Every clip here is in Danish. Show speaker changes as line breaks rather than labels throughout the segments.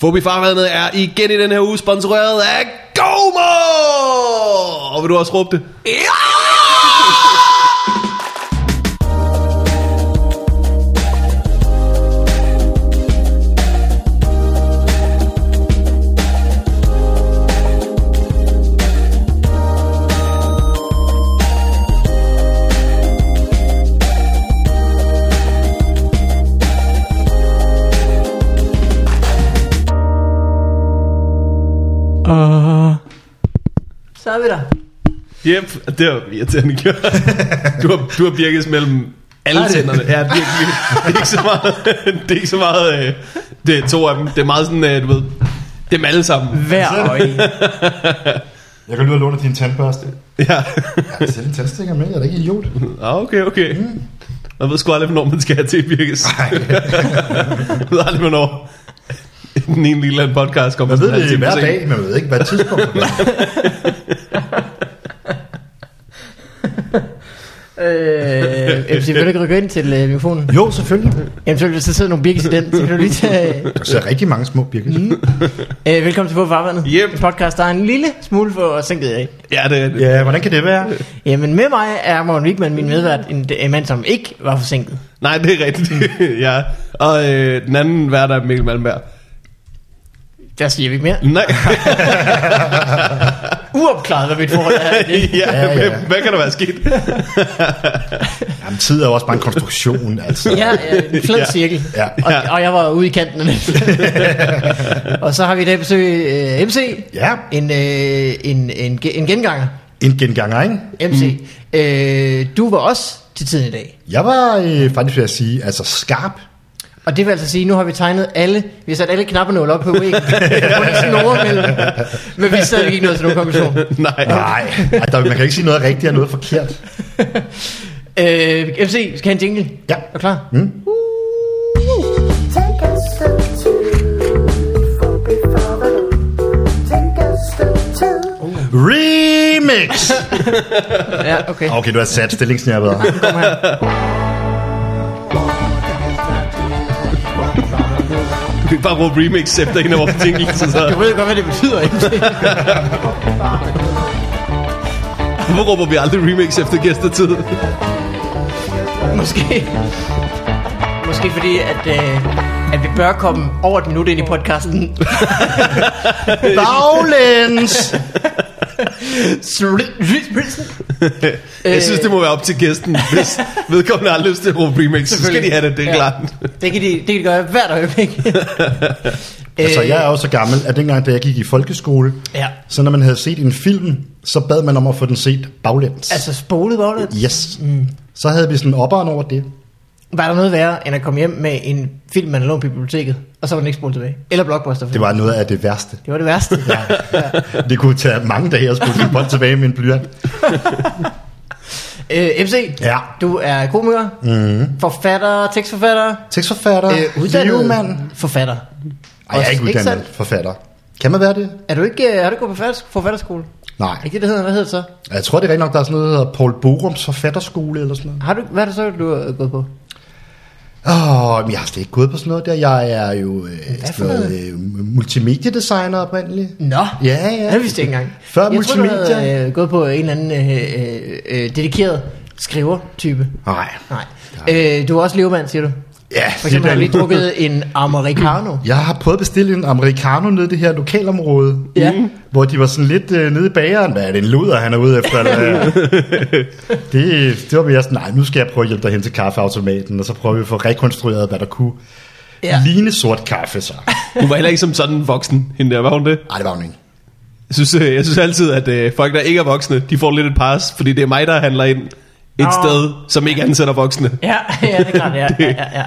Fobi Farvandet er igen i den her uge sponsoreret af GOMO! Og vil du også råbe det?
Så er vi der.
Yep, det var irriterende gjort. Du har, du har birkes mellem alle
Har det?
tænderne. Ja, virkelig. Det er ikke så meget, det er ikke så meget øh, det er to af dem. Det er meget sådan, øh, du ved, dem alle sammen.
Hver øje.
Jeg kan lyde at låne din tandbørste.
Ja,
Jeg kan sælge tandstikker med, jeg er da ikke idiot.
ah, okay, okay. Man ved sgu aldrig, hvornår man skal have til birkes. Man ved aldrig, hvornår den ene lille anden podcast kommer
Altså, Man ved
sådan en halv
det
time for sent.
hver dag, men man ved ikke, hvad tidspunkt det er.
øh, MC, vil du ikke rykke ind til øh, mikrofonen?
Jo, selvfølgelig.
Eventuelt, hvis der sidder nogle birkes i den, så kan du lige tage... Øh,
Der er rigtig mange små birkes. Mm.
øh, velkommen til På Farvandet.
Yep.
En podcast, der er en lille smule for sænket af.
Ja, det er det.
Ja, hvordan kan det være?
Jamen, med mig er Morten Wigman, min medvært, en, en mand, som ikke var forsinket.
Nej, det er rigtigt. ja. Og øh, den anden vært er Mikkel Malmberg.
Der siger vi ikke mere.
Nej,
Uopklaret, hvad mit forhold er. i det.
ja,
Ja, ja.
Hvad, hvad kan der være sket?
Jamen, tid er jo også bare en konstruktion, altså.
Ja, øh, en flad
Ja.
ja. cirkel.
Ja.
Og, og jeg var ude i kanten af den. Og så har vi i dag besøg øh, MC.
Ja,
En, øh, en, en, ge- en genganger.
en genganger, ikke?
MC. Mm. Øh, du var også til tiden i dag.
Jeg var øh, faktisk ved at sige, altså skarp.
Og det vil altså sige, at nu har vi tegnet alle, vi har sat alle knappenål op på væggen. Der var ikke sådan over mellem. Men vi er stadigvæk ikke nået til nogen konklusion.
Nej.
Nej, ej, der, man kan ikke sige noget rigtigt og noget forkert.
Øh, MC, skal have en jingle?
Ja.
Er du klar?
Mm.
Take a step two, for before the Take a step two,
Remix!
Ja, okay.
Okay, du har sat stillingsnærvet.
Kom her.
Du kan bare råbe remix efter en af vores ting. Så, så.
Du ved godt, hvad det betyder, MC.
Hvorfor råber vi aldrig remix efter gæstetid?
Måske. Måske fordi, at, øh, at vi bør komme over et minut ind i podcasten.
Baglæns!
Jeg synes, det må være op til gæsten. Hvis vedkommende har lyst til at råbe remix, så skal de
Selvfølgelig.
have det, det er
Ja.
klart.
Det kan de, det kan de gøre hvert øjeblik.
Altså, jeg er jo så gammel, at dengang, da jeg gik i folkeskole,
Øh, Ja.
så når man havde set en film, så bad man om at få den set baglæns.
Altså spolet var det.
Yes. Mm. Så havde vi sådan opperen over det.
Var der noget værre, end at komme hjem med en film, man havde lånt på biblioteket, og så var den ikke spolet tilbage? Eller blockbuster
Det var noget af det værste.
det var det værste. ja.
Det kunne tage mange dage at skulle bold tilbage med en blyant.
øh, MC,
Ja. Mhm.
du er komiker, mm. forfatter, tekstforfatter,
Tekstforfatter,
øh, uddannet
livmand.
forfatter.
Ej, jeg er ikke
Ikke
uddannet
sandt? forfatter.
forfatter. Kan man være det?
Er du ikke, øh, har du ikke gået på forfatters- forfatterskole?
Nej.
Er ikke det, det hedder? Hvad hedder det så?
Jeg tror, det er rent nok, der er sådan noget, der hedder Paul Borums forfatterskole eller sådan noget.
Har du, hvad er det så, du har gået på?
Åh, men jeg har slet ikke gået på sådan noget der. Jeg er jo øh, sådan
noget?
noget, øh, multimediedesigner oprindeligt.
Nå,
Ja, ja.
det vidste jeg ikke engang.
Før
jeg tror, du
multimedia.
havde, øh, gået på en eller anden øh, øh, øh, dedikeret skriver-type.
Nej.
Nej. Øh, du er også levemand, siger du.
Ja,
For eksempel har du
lidt-
lige drukket en americano.
Jeg har prøvet at bestille en americano nede i det her lokalområde,
Ja.
hvor de var sådan lidt øh, nede i bageren. Hvad er det, en luder, han er ude efter? Eller? hvad?" det, det var mere sådan, nej, nu skal jeg prøve at hjælpe dig hen til kaffeautomaten, og så prøver vi at få rekonstrueret, hvad der kunne
Ja.
ja. ligne sort kaffe, så.
Hun var heller ikke som sådan voksen, hende der. Var hun det?
Nej, det var hun ikke.
Jeg synes, øh, jeg synes altid, at øh, folk, der ikke er voksne, de får lidt et pas, fordi det er mig, der handler ind et
Nå.
sted, som ikke ansætter voksne.
Ja, ja, det er klart, ja, ja, ja, ja.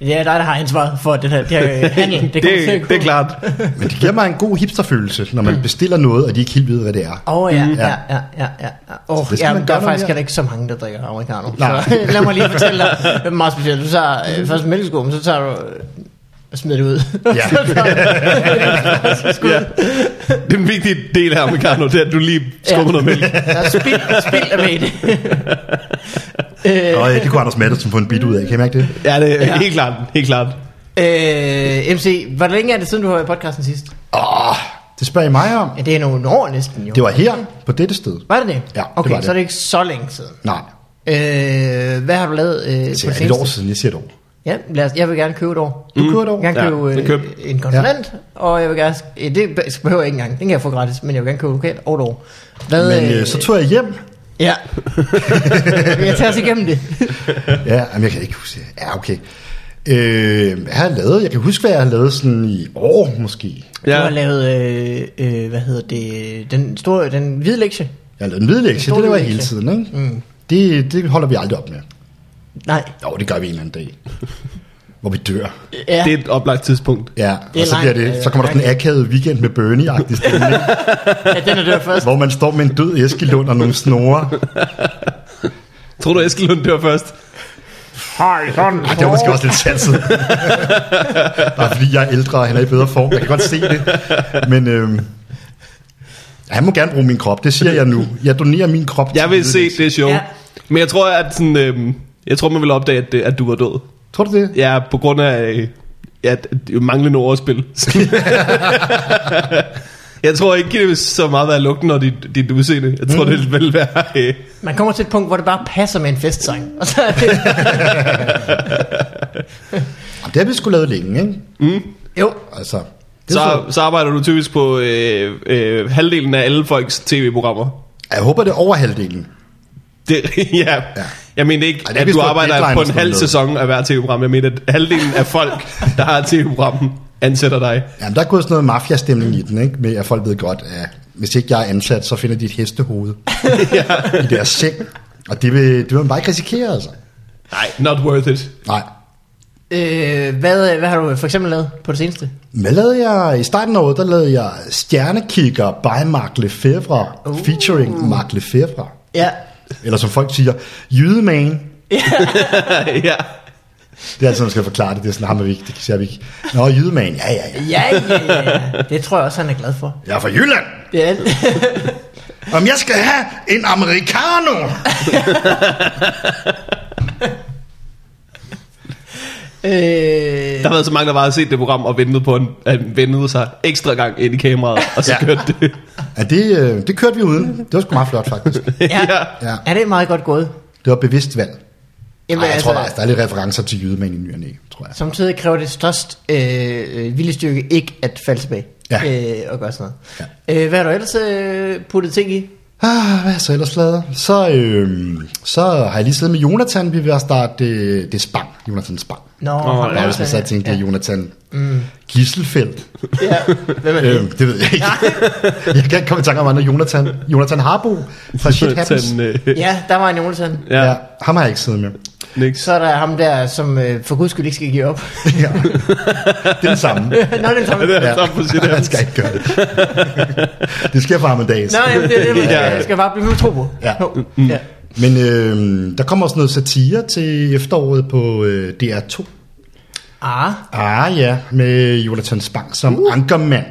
Det er dig, der har ansvaret for det her, det her øh, handel. Det, kommer til at
det,
gå.
det er klart.
Men det giver mig en god hipsterfølelse, når man bestiller noget, og de ikke helt ved, hvad det er.
Åh oh, ja,
Mm.
ja, ja, ja, ja. Oh,
det skal
ja men
man
der
gøre
er
noget
faktisk
mere.
heller ikke så mange, der drikker americano.
Nej.
Så, øh, lad mig lige fortælle dig, det er meget specielt. Du tager øh, først mælkeskum, så tager du... Øh, smider det ud.
Ja.
Ja. Det er den vigtige del her, Americano, det er, at du lige skummer noget mælk.
Der er spild, spild af med det.
Og øh, det kunne Anders Maddelsen få en bit ud af, kan jeg mærke det?
Ja, det er
Ja.
helt klart. Helt klart.
Øh, MC, hvor længe er det siden, du har været i podcasten sidst?
Åh, det spørger I mig om.
Ja, det er nogle år næsten jo.
Det var her, på dette sted.
Var det det?
Ja, det
okay,
var det.
så er det ikke så længe siden.
Nej,
Øh, hvad har du lavet øh, på det
det er
seneste?
et år siden, jeg siger et år.
Ja, lad os, jeg vil gerne købe et år.
Du kører et år?
Jeg
Mm. Ja,
kan købe
det
øh,
køb.
en konsulent, ja. og jeg vil gerne... øh, Det behøver jeg ikke engang. Den kan jeg få gratis, men jeg vil gerne købe lokalt og et år. Hvad,
Men øh, så tog jeg hjem.
Ja. jeg tager os igennem det.
Ja, men jeg kan ikke huske. det. Ja, okay. Øh, hvad har jeg lavet? Jeg kan huske, hvad jeg har lavet sådan i år, måske.
Ja. Du har lavet, øh, øh, hvad hedder det, den store, den hvide lektie.
Jeg har lavet en hvidlækse,
En stor
det laver jeg hele
hvidlektie.
tiden, ikke? Mm. Det, det holder vi aldrig op med.
Nej.
Jo, det gør vi en eller anden dag. Hvor vi dør.
Ja.
Det er et oplagt tidspunkt.
Ja,
Det er
og så, bliver
langt,
det,
øh,
så kommer der sådan en
langt.
akavet weekend med Bernie-agtig stemning,
ja, den er der først.
hvor man står med en død Eskilund og nogle snore.
Tror du, Eskil Lund dør først?
Hej, sådan.
Ej, det var måske også lidt satset. Bare fordi jeg er ældre, og han er i bedre form. Jeg kan godt se det. Men øhm, han må gerne bruge min krop, det siger jeg nu. Jeg donerer min krop
Jeg vil se
hvidlekse.
det show. Ja.
Ja.
Men jeg tror, at sådan, øhm, jeg tror, man vil opdage, at, det- at du var død.
Tror du det?
Ja, på grund af øh, at det manglende ordspil. jeg tror ikke, det vil så meget være lugten og dit, dit udseende. Jeg tror, mm. det vil være... Øh,
Man kommer til et punkt, hvor det bare passer med en festsang. Og så er det,
Jamen, det har vi sgu lavet længe, ikke?
jo,
Altså, det er
så, så arbejder du typisk på øh, øh, halvdelen af alle folks tv-programmer.
Jeg håber, det er over halvdelen.
Det, ja. ja. Jeg mener ikke,
Ej, det er
Ej, at
vist
du
på et
arbejder
deadline
på
og
en
sådan
halv
noget.
sæson af hver tv-program. Jeg mener, at halvdelen af folk, der har tv-programmet, ansætter dig.
Jamen, der er gået sådan noget mafiastemning i den, ikke? Med, at folk ved godt, at hvis ikke jeg er ansat, så finder de et hestehoved i deres seng. Og det vil, det vil man bare ikke risikere, altså.
Nej, not worth it.
Nej.
øh, hvad, hvad har du for eksempel lavet på det seneste?
Hvad lavede jeg i starten af året? Der lavede jeg Stjernekigger by Mark Lefebvre, uh. featuring Mark Lefebvre.
Ja,
Eller som folk siger, Jydeman.
ja.
Det er altid, man skal forklare det. Det er sådan, ham er vi ikke, det siger vi ikke. Nå, Jydeman, ja, ja, ja.
ja, ja, ja. Det tror jeg også, han er glad for.
Jeg er fra Jylland.
Det er alt.
Om jeg skal have en americano.
øh,
Der har været så mange, der bare har set det program og ventet på, en- at han vendede sig ekstra gang ind i kameraet, og så
Ja.
ja. kørte det.
Ja, det, øh, det kørte vi uden. Det var sgu meget flot, faktisk.
ja,
ja.
Ja.
ja, det er meget godt gået.
Det var et bevidst valg. Jamen, Ej, jeg altså, tror faktisk,
altså,
der er lidt referencer til jydemand i ny og næ, tror jeg.
samtidig kræver det størst øh, øh, viljestyrke ikke at falde tilbage
Ja.
øh, og gøre sådan noget. Ja. Øh, hvad har du ellers øh, puttet ting i?
Ah, hvad har jeg så ellers lavet? Så, øh, så har jeg lige siddet med Jonathan, vi er ved at starte øh, det er Spang, Jonathan Spang.
Nå,
Åh,
ham
ja,
Ja,
der
hvis man
også-
sad og tænkte, det er
ja.
Jonathan mm. Gisselfeldt.
ja. Hvem er det?
Øh, det ved jeg ikke. jeg kan ikke komme i tanke om andre. Jonathan, Jonathan Harbo fra Shit Happens.
Sådan, øh,
Ja, der var en Jonathan.
ja.
Ja,
ja.
ham har jeg ikke siddet med.
Niks.
Så er der ham der, som øh, for guds skyld ikke skal give op.
ja. Det er det samme.
Nå, det er samme.
Det er
Ja.
så på sit
Han skal ikke gøre det. det sker for ham en dag.
Nå, jamen, det er det,
Ja.
ja. jeg skal bare blive med at tro på.
Ja. Mm.
Jo. ja.
Men øh, der kommer også noget satire til efteråret på øh, DR2.
Ah,
Ah ja, med Jonathan Spang som uh. ankermand.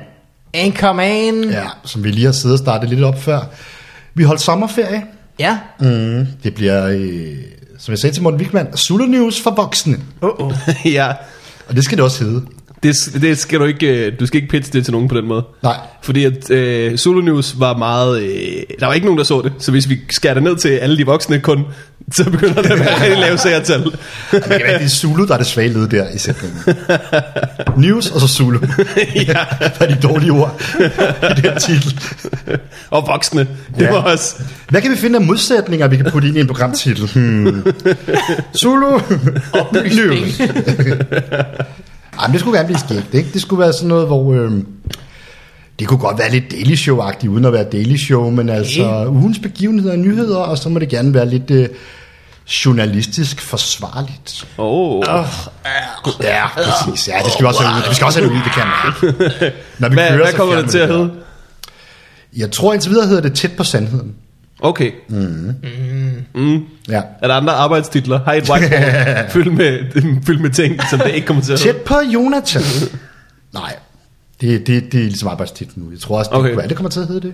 Anchorman. Ja.
Ja, som vi lige har siddet og startet lidt op før. Vi holdt sommerferie.
ja.
Mm. Det bliver, øh, som jeg sagde til Morten Wigman, Zulu News for voksne.
Uh-oh.
ja.
Og det skal det også hedde.
Det, det skal du ikke, øh, du skal ikke pitche det til nogen på den måde.
Nej.
Fordi at øh, Solo News var meget... Øh, der var ikke nogen, der så det. Så hvis vi skærer det ned til alle de voksne kun, så begynder det at være rigtig lave seertal.
Men det kan være, det er Zulu, der er det svage led der i sætningen. News og så Zulu.
ja.
Hvad er de dårlige ord i den titel?
Og voksne. Det
Ja.
ja. var også...
Hvad kan vi finde af modsætninger, vi kan putte ind i en programtitel? Hmm. Zulu News. Ej, men det skulle gerne blive skægt, ikke? Det skulle være sådan noget, hvor... Øh, det kunne godt være lidt Daily Show-agtigt, uden at være Daily Show, men altså ugens begivenheder og nyheder, og så må det gerne være lidt øh, journalistisk forsvarligt.
Oh.
Ja, præcis. Ja, det skal vi også have ud. Vi skal også have det ud, det kan man. Når vi
Hvad,
kører,
hvad
så
kommer
fjerner
det til
vi
at
der.
hedde?
Jeg tror indtil videre hedder det tæt på sandheden.
Okay.
Ja.
Er der andre arbejdstitler? Har I et whiteboard fyldt med, fyldt med ting, som det ikke kommer til at
Tæt
hedde?
på Jonathan. Nej, det, det, det er ligesom arbejdstitlen nu. Jeg tror også, det,
Okay.
okay. det kommer til at hedde det.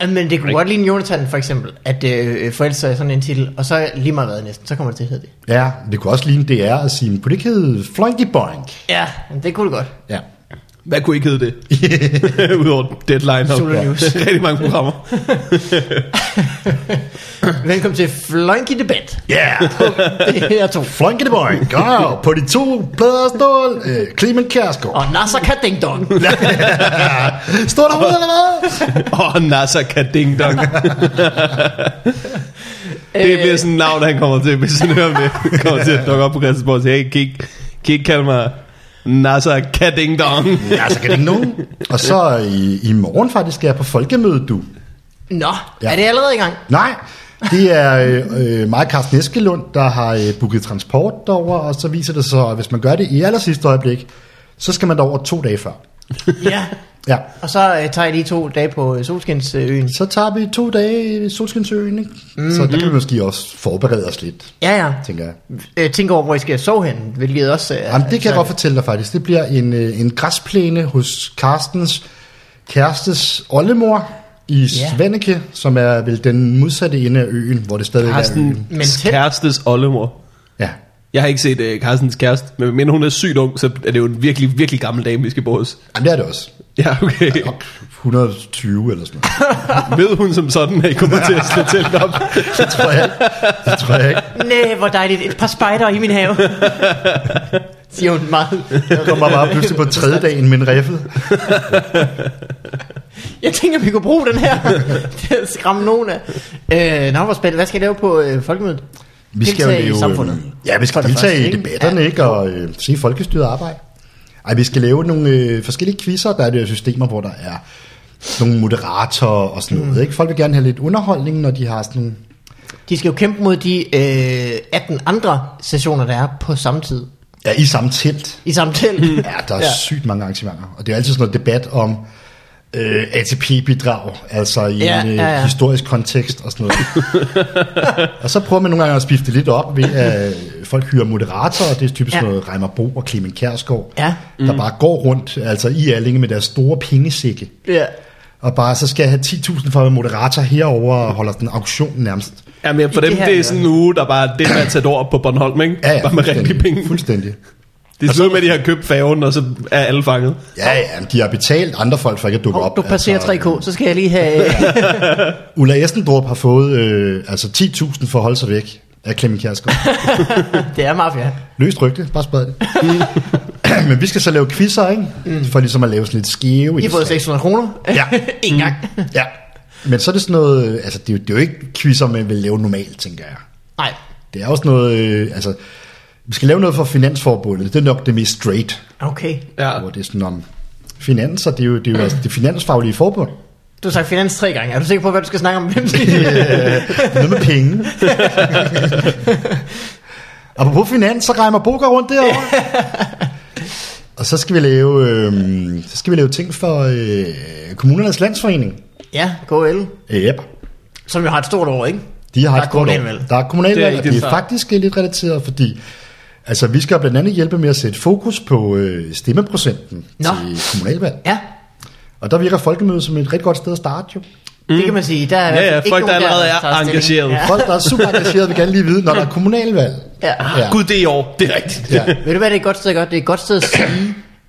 Ja, Øh, Men det kunne godt ligne Jonathan for eksempel, at øh, forældre sig i sådan en titel, og så lige meget hvad næsten, så kommer det til at hedde det.
Ja, det kunne også ligne DR at sige, kunne det ikke hedde Flunky Boink?
Ja, men det kunne det godt.
Ja.
Hvad kunne ikke hedde det? Udover Deadline og
Solo News.
rigtig mange programmer.
Velkommen til Flunky Debat.
Yeah!
Det her to.
Flunky Boink, og på de to plader stål, øh, Clement Kjærsgaard.
Og Nasser kan ding dong.
Står der ude eller hvad?
Åh, oh, NASA kan ding dong. det
Øh.
bliver sådan et navn, han kommer til, hvis han hører med. kommer til at dukke op på Christiansborg og sige, hey, kan I ikke, kan I ikke kalde mig NASA kan ding dong?
Ja, så kan det ikke nogen. Og så øh, i, i morgen faktisk skal jeg på folkemødet, du.
Nå,
Ja.
er det allerede i gang?
Nej, det er øh, øh, mig og Carsten Eskelund, der har øh, booket transport derover, og så viser det sig, at hvis man gør det i aller sidste øjeblik, så skal man derover to dage før.
Ja.
Ja,
Og så øh, tager jeg lige to dage på øh, Solskinsøen.
så tager vi to dage i Solskinsøen, ikke? Mm-hmm. Så der kan vi måske også forberede os lidt,
Ja, ja.
tænker jeg.
Øh, tænker over, hvor I skal sove hen, hvilket også... Øh,
Jamen, det kan jeg
altså-
godt fortælle dig faktisk. Det bliver en, øh, en græsplæne hos Carstens kærestes oldemor i
Ja.
Svanneke, som er vel den modsatte ende af øen, hvor det stadig er øen.
Men
Carstens
tæt.
kærestes oldemor.
Ja.
Jeg har ikke set uh, Carstens kæreste, men men hun er sygt ung, så er det jo en virkelig, virkelig gammel dame, vi skal bo hos.
Jamen, det er det også.
Ja, okay.
120 eller sådan noget.
Ved hun som sådan, at I kommer til at slå telt op?
Det tror jeg ikke. Det tror jeg ikke.
Næh, hvor dejligt. Et par spejder i min have. Siger hun meget.
Jeg kommer bare pludselig på tredje dagen med en riffel.
Jeg tænker, vi kunne bruge den her til at skræmme nogen af. Øh, nå, hvor spændende. Hvad skal jeg lave på øh, folkemødet?
Vi skal jo
Deltage
lave,
i samfundet.
øh, Ja,
For
vi skal
det
deltage i
første, ikke?
debatterne, ikke? Og øh, se folkestyret arbejde. Ej, vi skal lave nogle øh, forskellige quizzer. Der er det jo systemer, hvor der er nogle moderatorer og sådan
Mm.
noget, ikke? Folk vil gerne have lidt underholdning, når de har sådan nogle...
De skal jo kæmpe mod de øh, 18 andre sessioner, der er på samme tid.
Ja, i samme telt.
I samme telt.
Ja, der er ja. sygt mange arrangementer. Og det er altid sådan noget debat om øh, ATP-bidrag, altså i
Ja,
ja, en øh,
ja,
ja,
ja.
ja. historisk kontekst og sådan noget. og så prøver man nogle gange at spifte det lidt op ved, at folk hyrer moderatorer, det er typisk
Ja.
ja. noget Reimer Bo og Clemen Kærsgaard,
Ja. Mm.
der bare går rundt altså i Allinge med deres store pengesække.
ja.
Og bare, så skal jeg have 10.000 for en moderator herover og holder den auktion nærmest.
Ja, men for
I det
dem, det
her
er
hjørne.
sådan en uge, der bare det med at tage op på Bornholm, ikke?
Ja, ja,
bare med rigtige penge.
fuldstændig.
Det er sådan med, at de har købt færgen, og så er alle fanget.
Ja, ja, men de har betalt andre folk for ikke at dukke
Hov,
op. Altså,
du passerer 3K, så skal jeg lige have...
Ulla Essendrup har fået øh, altså 10.000 for at holde sig væk af Clemen Kjærsgaard.
det er mafia.
Løst rygte, bare spred det. Men vi skal så lave quizzer, ikke? Mm. For ligesom at lave sådan lidt skæve.
I har fået
indslag.
600 kroner.
Ja. Mm.
en gang.
Ja. Men så er det sådan noget, øh, altså det er, jo, det er jo ikke quizzer, man vil lave normalt, tænker jeg.
Nej.
Det er også noget, øh, altså vi skal lave noget for Finansforbundet. Det er nok det mest straight,
Okay.
Ja.
ja. hvor det er sådan om finanser. Det er jo det, er jo, altså, det finansfaglige forbund.
Du har sagt finans tre gange. Er du sikker på, hvad du skal snakke om? Hvem skal-
Øh, Noget med penge. og på finans, så regner Boga rundt derovre. og så skal vi lave, øh, så skal vi lave ting for øh, kommunernes landsforening.
ja, KL.
Yep.
Som jo har et stort år, ikke?
De har
Der er
et godt år.
kommunalvalg.
Der er
Det er
kommunalvalg, og
rigtigt.
det er faktisk lidt relateret, fordi altså, vi skal blandt andet hjælpe med at sætte fokus på øh, stemmeprocenten
Nå.
til kommunalvalg.
Ja,
Og der virker folkemødet som et rigtig godt sted at starte jo.
mm. det kan man sige. Der er i hvert
Ja,
fald
ja,
ikke
folk, der
nogen,
allerede er
tager stilling.
engageret.
Ja.
Folk, der er super engagerede, vil gerne lige vide, når der er kommunalvalg.
Ja.
ja. Gud, det er i år. Det er rigtigt.
Ja.
Ved du hvad, det er et godt sted at gøre? Det er et godt sted at sige,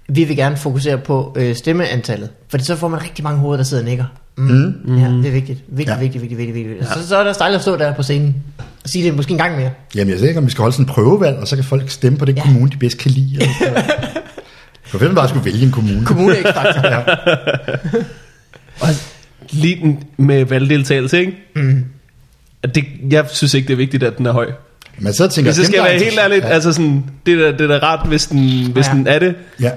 vi vil gerne fokusere på øh, stemmeantallet. Fordi så får man rigtig mange hoveder, der sidder og nikker. Mm. Mm. Ja, det er vigtigt. Vigtigt, ja.
Ja.
vigtigt, vigtigt, vigtigt. vigtigt. Ja. Så, så er det også dejligt at stå der på scenen og sige det måske en gang mere.
Jamen, jeg ved ikke, om vi skal holde sådan en prøvevalg, og så kan folk stemme på den
Ja.
ja. kommune, de bedst kan lide. eller sådan noget. For fedt, at man bare skulle vælge en kommune.
Kommune ekstra.
Ja.
Og lige den med valgdeltagelse, ikke? Mm. Det, jeg synes ikke, det er vigtigt, at den er høj.
Men så tænker
Hvis jeg
dem,
skal
der er
være helt
interessant-
ærlig, ja. altså sådan, det er da- det er da rart, hvis den, hvis
Ja.
ja. den er det.
Ja.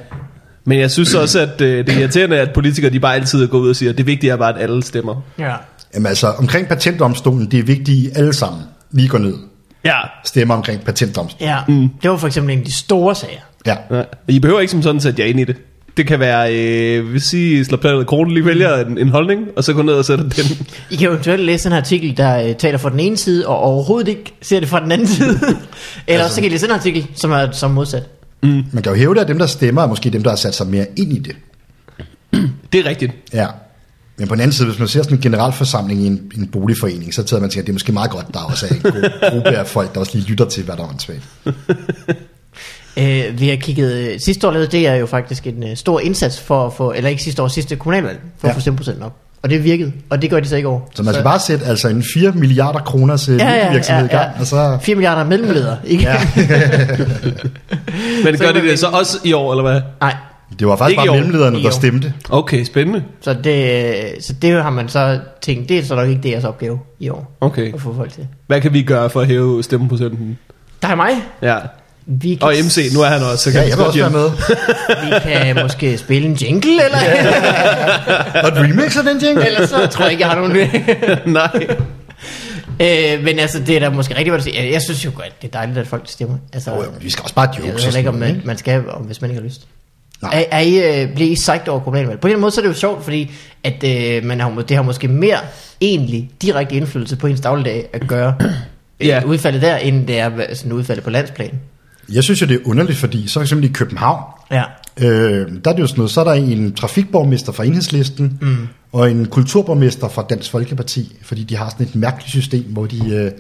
Men jeg synes også, at øh, det er irriterende, at politikere de bare altid går ud og siger, det vigtige er bare, at alle stemmer.
Ja.
Jamen altså, omkring patentdomstolen, det er vigtigt, at I alle sammen lige går ned
Ja.
stemmer omkring patentdomstolen.
ja. Mm. Det var for eksempel en af de store sager.
Ja.
ja. I behøver ikke som sådan sætte jer ind i det. Det kan være, øh, hvis I slår planet kronen, lige vælger en, en holdning, og så går ned og sætter den.
I kan jo eventuelt læse den her artikel, der øh, taler fra den ene side, og overhovedet ikke ser det fra den anden side. Eller altså, så kan I læse den her artikel, som er som modsat.
Mm.
Man kan jo hæve det, at dem, der stemmer, er måske dem, der har sat sig mere ind i det.
Det er rigtigt.
Ja. Men på den anden side, hvis man ser sådan en generalforsamling i en, en boligforening, så tager man til, at det er måske meget godt, der også er en god gruppe af folk, der også lige lytter til, hvad der er åndssvagt.
Øh, vi har kigget, øh, sidste år lavede det er jo faktisk en øh, stor indsats for at få, eller ikke sidste år, sidste kommunalvalg, for ja.
Ja.
at få stemmeprocenten op. Og det virkede, og det gør de så ikke over.
Så man skal bare sætte altså en 4 milliarder kroners ja, ja, virksomhed ja, ja. i gang, og så...
4 milliarder mellemledere, ikke? Ja.
Men
Så
gør
er
de
det
det så også i år, eller hvad?
Nej,
Det var faktisk
Ikke i
bare
år.
mellemlederne,
I
der
år.
stemte.
Okay, spændende.
så det, øh, så det har man så tænkt, det er så nok ikke deres opgave i år,
Okay.
at få folk til.
Hvad kan vi gøre for at hæve stemmeprocenten?
Der er mig.
Ja.
Vi
Og MC, nu er han også, så kan
Ja,
vi
jeg vil
godt
også være
hjælpe.
Vi
med.
kan måske spille en jingle, eller,
Og et remix af den ting.
eller så tror jeg ikke, jeg har nogen...
Nej.
øh, men altså, det er da måske rigtigt, hvad du siger. Jeg, jeg synes jo godt, det er dejligt, at folk stemmer. Altså,
Jo, jo, men vi skal også bare
Jeg ved
joke.
heller ikke, om man, man skal, om, hvis man ikke har lyst.
Nej.
Er, er I, øh, bliver I sejt over kommunalvalg? På en eller anden måde så er det jo sjovt, fordi at, øh, man har, må- det har måske mere egentlig direkte indflydelse på ens dagligdag at gøre øh,
Ja.
udfaldet der, end det er hvad- sådan udfaldet på landsplan.
Jeg synes jo, det er underligt, fordi så eksempel i København,
Ja.
Øh, der er det jo sådan noget, så er der en trafikborgmester fra Enhedslisten, mm. og en kulturborgmester fra Dansk Folkeparti, fordi de har sådan et mærkeligt system, hvor de øh,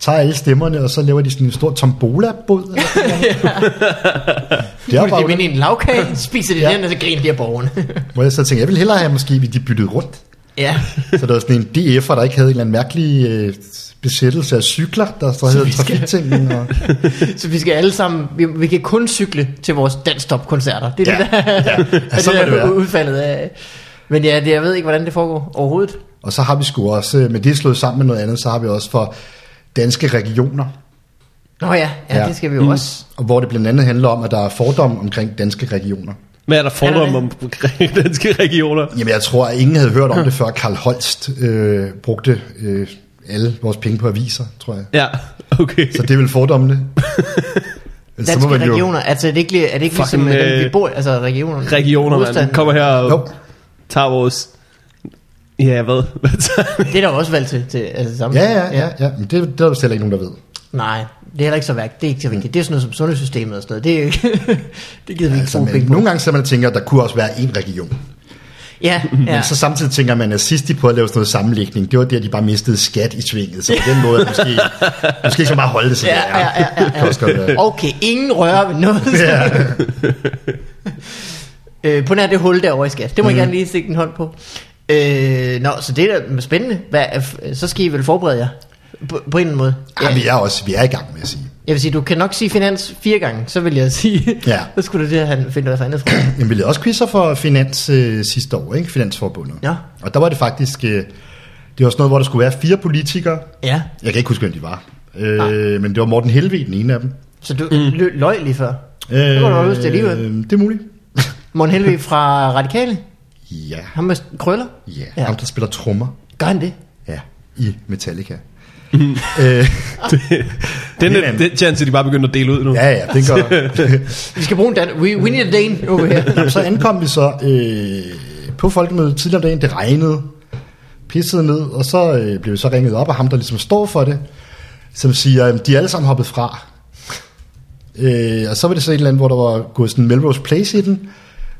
tager alle stemmerne, og så laver de sådan en stor tombola-båd. eller sådan noget. det er
Putter de
bare,
dem ind i en lavkage, spiser de
Ja.
ja. den, og så griner de af borgerne.
hvor jeg så tænkte, jeg ville hellere have måske, at de byttede rundt.
ja.
Så der var sådan en DF'er, der ikke havde en eller anden mærkelig øh, besættelse af cykler, der så hedder trafiktingen. Og,
Så vi skal alle sammen, vi, vi kan kun cykle til vores danstop-koncerter. Det er
Ja.
det, der, ja.
Ja, sådan må
det,
det
der er
være.
udfaldet af. Men ja, det, jeg ved ikke, hvordan det foregår overhovedet.
og så har vi sgu også, øh, men det er slået sammen med noget andet, så har vi også for danske regioner,
Nå ja, ja,
Ja.
ja. det skal vi jo mm. også.
Og hvor det blandt andet handler om, at der er fordomme omkring danske regioner.
Hvad er der fordomme
Er
om danske regioner?
Jamen, jeg tror, at ingen havde hørt om det, før Karl Holst øh, brugte øh, alle vores penge på aviser, tror jeg.
Ja, okay.
Så det er vel fordommene. Ellers så må
Danske
man jo-
regioner, altså er det ikke, er det ikke
Fucking,
ligesom øh, dem, vi
øh,
bor i? altså regionerne?
Regioner, man
Hovedstaden.
kommer her og
Jo,
tager vores... Ja, hvad? Hvad tager
Det er der jo også valg til, til altså sammen.
ja, ja, ja, ja. Men det, det er der heller ikke nogen, der ved.
Nej, det er heller ikke så værkt, det er ikke så
Mm.
vigtigt. Det er sådan noget som sundhedssystemet og sådan noget, det, er jo ikke, det gider vi ikke
Altså,
bruge penge
men,
på.
nogle gange så man og tænker, at der kunne også være én region.
Ja, ja.
Men så samtidig tænker man, at sidst de prøvede at lave sådan noget sammenlægning, det var der, de bare mistede skat i svinget. Så på den måde er det måske, måske ikke så meget holde det, som
Ja,
det er.
ja, ja, ja, ja.
Det kan også godt være.
Okay, ingen rører ved noget.
Ja.
øh, på nær det hul derovre i skat. Det
Mhm.
må jeg gerne lige stikke en hånd på. Øh, nå, så det er da spændende. Hvad, er f- så skal I vel forberede jer på, på en eller anden måde.
Ja, vi er også vi er i gang med at sige.
Jeg vil sige, du kan nok sige finans fire gange, så vil jeg sige,
Ja.
så skulle du det have finde noget andet fra.
Jamen, vi lavede også quizzer for Finans øh, sidste år, ikke? Finansforbundet.
Ja.
Og der var det faktisk, øh, det var sådan noget, hvor der skulle være fire politikere.
Ja,
Jeg kan ikke huske, hvem de var.
Nej.
Øh, men det var Morten Helvig, den ene af dem.
så du mm. løg lige før.
Øh,
Det kunne du godt huske alligevel.
Det er muligt.
Morten Helvig fra Radikale,
ja,
ham med krøller.
ja.
Ja.
ja. Ham, der spiller trommer.
Gør han det?
Ja, i Metallica. øh,
den,
Helt
den,
andet.
den chance, de bare begynder at dele ud nu.
ja, ja, det gør
Vi skal bruge en dan. We, we need a Dane over her.
Jamen, så ankom vi så øh, på folkemødet tidligere om dagen. Det regnede, pissede ned, og så øh, blev vi så ringet op af ham, der ligesom står for det, som siger, at de er alle sammen hoppet fra. Øh, og så var det så et eller andet, hvor der var gået sådan en Melrose Place i den,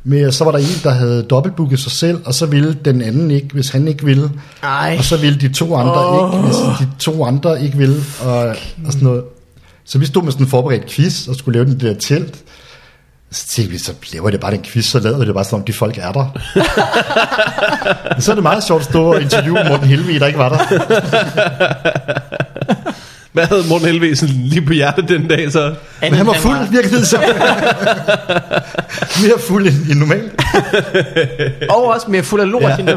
men så var der en, der havde dobbeltbooket sig selv, og så ville den anden ikke, hvis han ikke ville.
Ej.
Og så ville de to andre oh.
Åh.
ikke, hvis de to andre ikke ville, og, og sådan noget. Så vi stod med sådan en forberedt quiz, og skulle lave den der telt. Så tænkte vi, så laver det bare den quiz, så lader vi det bare som om de folk er der. Men så er det meget sjovt at stå og interviewe Morten Helvig, der ikke var der.
Hvad havde Morten Helvesen lige på hjertet den dag så?
Men han var fuld, virkelig så. Mere fuld end, end normalt.
Og også mere fuld af lort.
Ja.
Ja.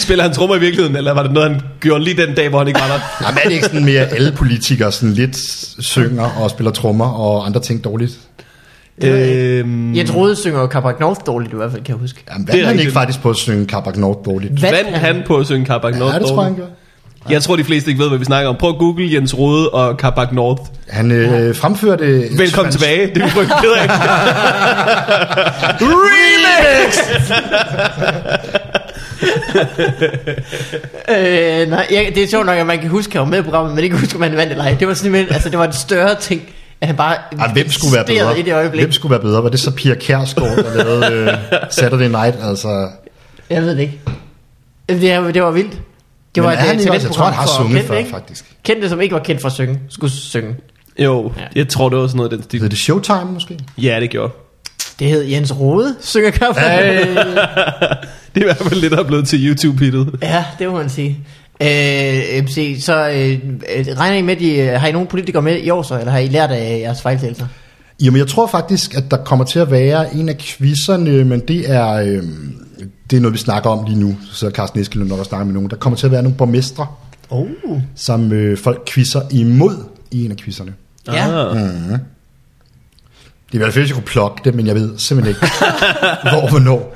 Spiller han trommer i virkeligheden, eller var det noget, han gjorde lige den dag, hvor han ikke var der?
Jamen er det ikke sådan mere, at alle politikere sådan lidt synger og spiller trommer og andre ting dårligt?
ved jeg
øhm,
Jeg troede, synger Kabak North dårligt i hvert fald, kan jeg huske.
Jamen,
Det
hvad
er
han ikke
rigtigt.
faktisk på at synge Kabak Nord dårligt?
Hvad
vandt han på at synge Kabak North?
Ja, det tror jeg, han
Dorte?
gør.
jeg tror, de fleste ikke ved, hvad vi snakker om. Prøv at google Jens Rode og Kabak North.
Han øh, fremførte...
Velkommen tilbage. Det er vi frygtelig ked af. Remix!
Øh, nej, jeg, det er sjovt nok, at man kan huske, at han var med i programmet, men ikke huske, om han vandt eller ej. Det var simpelthen, altså det var en større ting, at han bare
Ah, hvem skulle være
insisterede
bedre?
i det øjeblik.
Hvem skulle være bedre? Var det så Pia Kjærsgaard, der lavede øh, Saturday Night? Altså,
Jeg ved det ikke. Jamen, Det, er- det var vildt. Det
Men
var øh,
er han ikke også? Jeg tror, han har
talentprogram for
sunget
kendte,
før,
ikke?
faktisk.
Kendte, som ikke var kendt for at synge, skulle synge.
Jo,
Ja.
jeg tror, det var sådan noget i den stil.
Hedder det Showtime, måske?
Ja, det gjorde.
Det hed Jens Rode, synger
Det er i hvert fald lidt, der er blevet til YouTube-hittet.
Ja, det må man sige. Øh, MC, så øh, øh, regner I med, de, øh, har I nogen politikere med i år så, eller har I lært af jeres fejltagelser?
Jamen, jeg tror faktisk, at der kommer til at være en af quizzerne, men det er, øh, det er noget, vi snakker om lige nu. Så sidder Carsten Eskilund nok og snakker med nogen. Der kommer til at være nogle borgmestre,
Oh.
som øh, folk quizzer imod i en af quizzerne.
Ja.
Ah.
Det ville være fedt, hvis jeg kunne plukke det, men jeg ved simpelthen ikke, hvor og hvornår.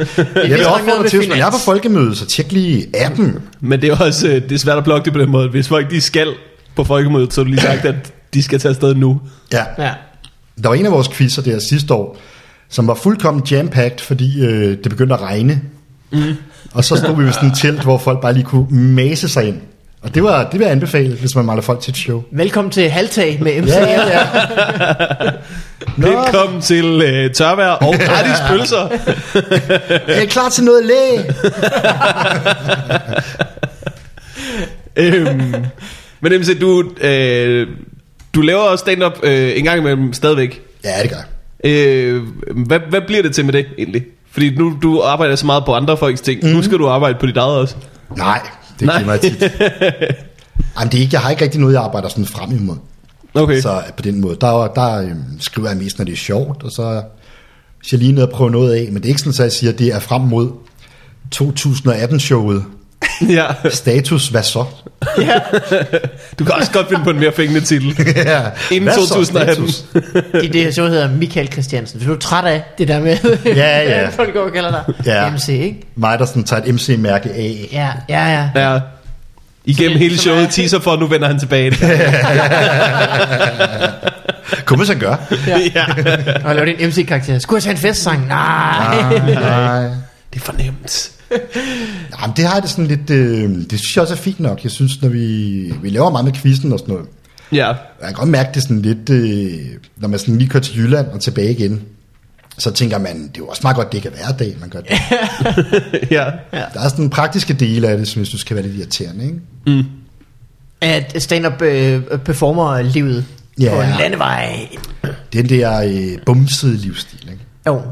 nok
Jeg vil
noget
opfordre
med
til, hvis man er
finans.
på folkemødet, så tjek lige appen.
Men det er også øh, det er svært at blokke det på den måde. Hvis folk de skal på folkemødet, så har du lige sagt, at de skal tage afsted nu.
Ja,
ja.
der var en af vores quizzer der sidste år, som var fuldkommen jam fordi øh, det begyndte at regne. Mm. Og så stod vi ved sådan et telt, hvor folk bare lige kunne mase sig ind. Og det, var, det vil jeg anbefale, hvis man maler folk til et show.
Velkommen til Halvtag med MC.
Ja, ja, ja. Nå,
Velkommen til øh, tørvejr og gratis pølser.
er I klar til noget læg?
øhm, men MC, du, øh, du laver også stand-up øh, en gang imellem stadigvæk.
Ja, det gør jeg.
Øh, hvad, hvad bliver det til med det egentlig? Fordi nu du arbejder så meget på andre folks ting. Mm. Nu skal du arbejde på dit eget også.
Nej, Mhm. det
Nej.
giver mig tit. Jamen, det er ikke, jeg har ikke rigtig noget, jeg arbejder sådan frem imod.
Okay. Så.
Så øh, på den måde, der, der øhm, skriver jeg mest, når det er sjovt, og så hvis jeg lige ned og prøver noget af, men det er ikke sådan, at jeg siger, at det er frem mod 2018-showet.
Ja.
Status, hvad så?
Du kan også godt finde på en mere fængende titel.
ja,
Inden
hvad så,
2018.
status?
I det her show hedder Michael Christiansen. Hvis du er træt af det der med,
Ja, ja.
folk går og kalder dig
Ja.
MC, ikke?
Mig, der sådan tager et MC-mærke af.
Ja, ja, ja.
Ja. Igennem
Som-
hele
som er-
showet teaser for, at nu vender han tilbage.
Kunne man så gøre?
ja.
Og laver din MC-karakter. Skulle jeg tage en festsang? Nej.
Nej.
Det er fornemt.
Jamen, det har jeg det sådan lidt... Øh, det synes jeg også er fint nok. Jeg synes, når vi, vi laver meget med quizzen og sådan noget,
Ja.
Jeg kan godt mærke det sådan lidt, øh, når man sådan lige kører til Jylland og tilbage igen, så tænker man, det er jo også meget godt, det ikke er hverdag, man gør det.
ja.
Der er sådan en praktiske dele af det, som jeg synes kan være lidt irriterende, ikke?
At stand-up øh, performer livet
Ja.
på en landevej.
Den der øh, bumsede livsstil, ikke?
Jo.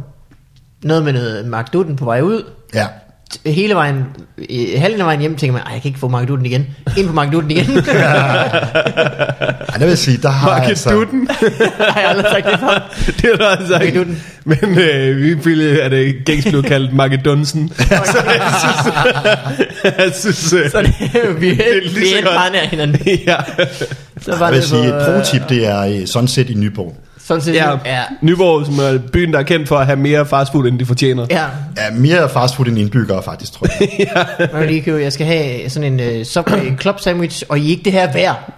Noget med noget Mark Duden på vej ud.
Ja.
T- Hele vejen, øh, halvdelen af vejen hjem tænker man, "Ej, jeg kan ikke få Mark Duden igen. Ind på Mark Duden igen.
Ej, der vil jeg sige, der har jeg
Market
altså...
Duden.
har jeg aldrig sagt det før.
det er der altså
Market
ikke.
Duden.
Men øh, vi ville, at det gængs blev kaldt Market Dunsen. så jeg synes, jeg synes øh,
Så det, vi
er
er,
lige
vi
så
er helt
godt.
bare nær hinanden.
ja.
Så var
Jeg vil sige,
på,
et
øh,
pro-tip, det er øh, Sunset i Nyborg.
Sådan set, ja.
ja.
ja.
Nyborg, som er byen, der er kendt for at have mere fastfood, end de fortjener.
Ja,
Ja, mere fastfood end indbyggere, faktisk, tror jeg.
man kan lige købe, jeg skal have sådan en uh, Subway club sandwich, og I er ikke det her værd.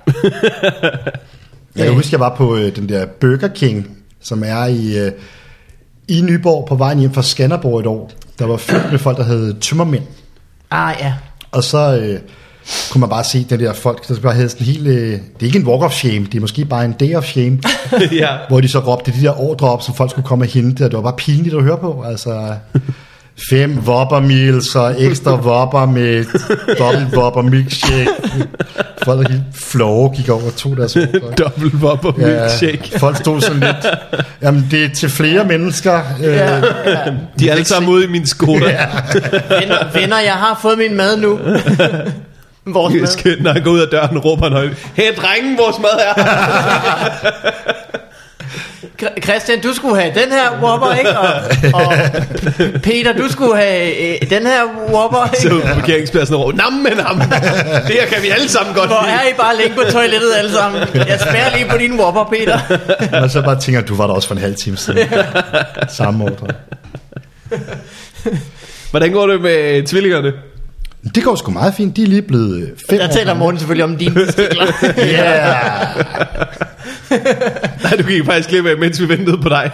Jeg kan huske, jeg var på øh, den der Burger King, som er i, øh, i Nyborg på vejen hjem fra Skanderborg et år. Der var fyldt med folk, der havde tømmermænd.
Ah ja,
Og så øh, kunne man bare se den der folk, der bare havde sådan helt... Øh, det er ikke en walk of shame, det er måske bare en day of shame,
ja.
hvor de så råbte de der ordre op, som folk skulle komme og hente, og det var bare pinligt at høre på. Altså, fem whopper meals og ekstra whopper med dobbelt whopper milkshake. Folk der helt flove gik over og tog deres ordre.
Dobbelt whopper milkshake.
folk stod sådan lidt, jamen det er til flere mennesker. Øh, ja.
De er alle sammen ude i min skoda. ja.
venner, venner, jeg har fået min mad nu. Vores
Jeg
mad.
skal, når han går ud af døren, råber han højt. Hey, drengen, vores mad er her."
Kr- Christian, du skulle have den her Whopper, ikke? Og, og Peter, du skulle have øh, den her Whopper,
Så
ikke?
ud på Altså, parkeringspladsen og råber, nam, men ham. Det her kan vi alle sammen godt
Hvor
lide."
er I bare længe på toilettet alle sammen? Jeg spærer lige på din Whopper, Peter.
Og så bare tænker, du var der også for en halv time siden. Samme ordre.
Hvordan går det med øh, tvillingerne?
Det går sgu meget fint. De er lige blevet øh, fem
Der
år
taler
gamle.
Morten selvfølgelig om dine stikler.
Ja,
Nej, du gik faktisk glip af, mens vi ventede på dig.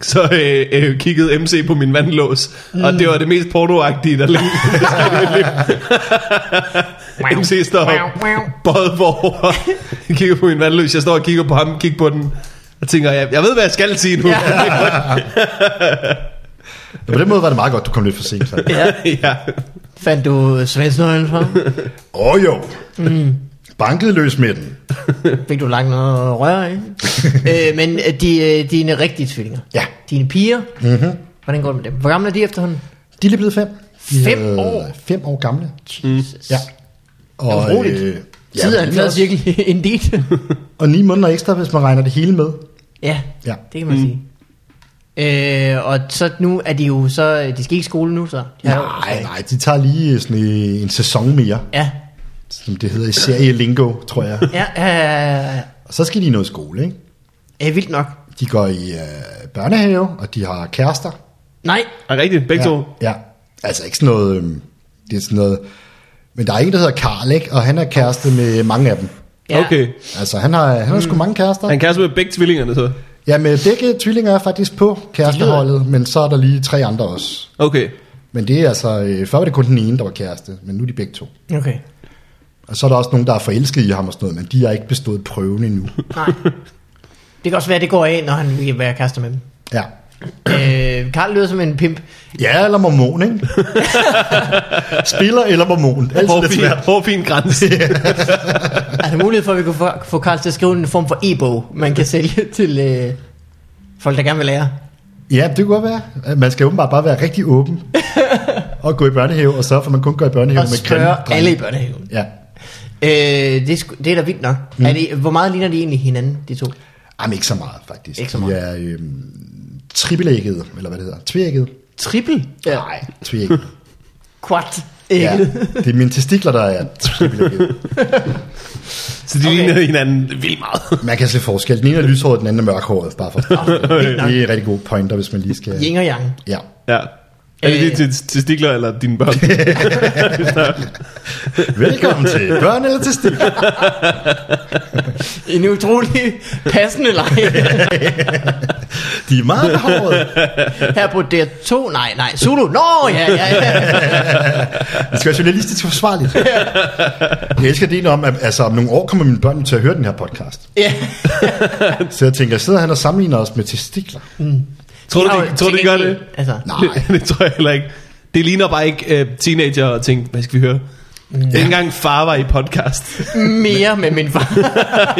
Så øh, øh, kiggede MC på min vandlås, mm. og det var det mest pornoagtige, der længe der skete i mit liv. MC står og bøjet forover, kigger på min vandløs. Jeg står og kigger på ham, kigger på den, og tænker, jeg, jeg ved, hvad jeg skal sige nu.
på den måde var det meget godt, du kom lidt for sent. Så.
ja.
Fandt du svendsnøglen fra?
Åh oh, jo. Bankede løs med den.
Fik du langt noget rør i? øh, men øh, de, øh, dine rigtige tvillinger.
Ja.
Dine piger. Mm-hmm. Hvordan går det med dem? Hvor gamle er de efterhånden?
De er lige blevet fem. De
Fem
er
år? Mm.
Fem år gamle.
Jesus.
Ja. Og, øh,
Roligt.
ja,
Sidder han
men det er
fast
også-
virkelig en dit?
Og ni måneder ekstra, hvis man regner det hele med.
ja,
Ja.
det kan man sige. Øh, og så nu er de jo så, øh, de skal ikke i skole nu så. De har jo-
Nej, nej, de tager lige øh, sådan en, en sæson mere,
Ja,
som det hedder i serielingo, tror jeg.
ja, øh,
Og så skal de i noget skole, ikke?
er vildt nok.
De går i øh, børnehave, og de har kærester.
Nej,
Er rigtigt, begge ja. to.
Ja, ja. Altså ikke sådan noget, øhm, det er sådan noget... Men der er en, der hedder Karl, ikke? Og han er kæreste med mange af dem.
ja.
Okay.
Altså, han har, han har sgu mange kærester.
Han kan så med begge tvillingerne så.
Ja, men begge tvillinger er faktisk på kæresteholdet, men så er der lige tre andre også.
Okay.
Men det er altså, øh, før var det kun den ene, der var kæreste, men nu er de begge to.
Okay.
Og så er der også nogen, der er forelsket i ham og sådan noget, men de har ikke bestået prøven endnu.
Nej. Det kan også være, det går af, når han vil være kærester med dem.
Ja.
Øh, Karl lyder som en pimp.
Ja, eller mormon, ikke? Spiller eller mormon. Altid lidt
Hårfin,
svært.
hårfin grænse.
Er der Altså, mulighed for, at vi kunne få, få Karl til at skrive en form for e-bog, man kan sælge til øh, folk, der gerne vil lære?
Ja, det kunne godt være. Man skal åbenbart bare være rigtig åben og gå i børnehave, og sørge for, at man kun går i børnehave
Og
med
spørge
grimme drenge.
alle i børnehaven.
Ja.
Øh, det, er sgu- det er da vildt nok. Mm. Er det, hvor meget ligner de egentlig hinanden, de to?
Jamen, ikke så meget, faktisk.
Ikke så meget.
De er øhm, tripelægget, eller hvad det hedder. Tvægget.
Triple?
Ja. Nej, tvægget.
Quart?
ja.
Ægget?
Det er mine testikler, der er tripelægget.
Så de okay. ligner hinanden vildt meget.
Man kan se forskel. Den ene er lyshåret, den anden er mørkhåret. Bare for
vildt nok.
det er rigtig gode pointer, hvis man lige skal...
Yin og yang.
Ja.
Ja. Er det
Øh.
dine tes- testikler eller dine børn?
Velkommen til Børn eller Testikler.
En utrolig passende leg.
De er meget behårede.
Her på DR2. Nej, nej. Zulu. Nå, ja, ja, ja.
Det skal være journalistisk forsvarligt. Jeg elsker det om, at altså, om nogle år kommer mine børn til at høre den her podcast.
ja.
Så jeg tænker, sidder han og sammenligner os med testikler?
tror du, de, tror, du, de gør det?
Altså,
Nej.
det tror jeg heller ikke. Det ligner bare ikke uh, teenager og tænke, hvad skal vi høre?
Mm.
Ja. Det er ikke engang far var i podcast.
mere med min far.
Ja.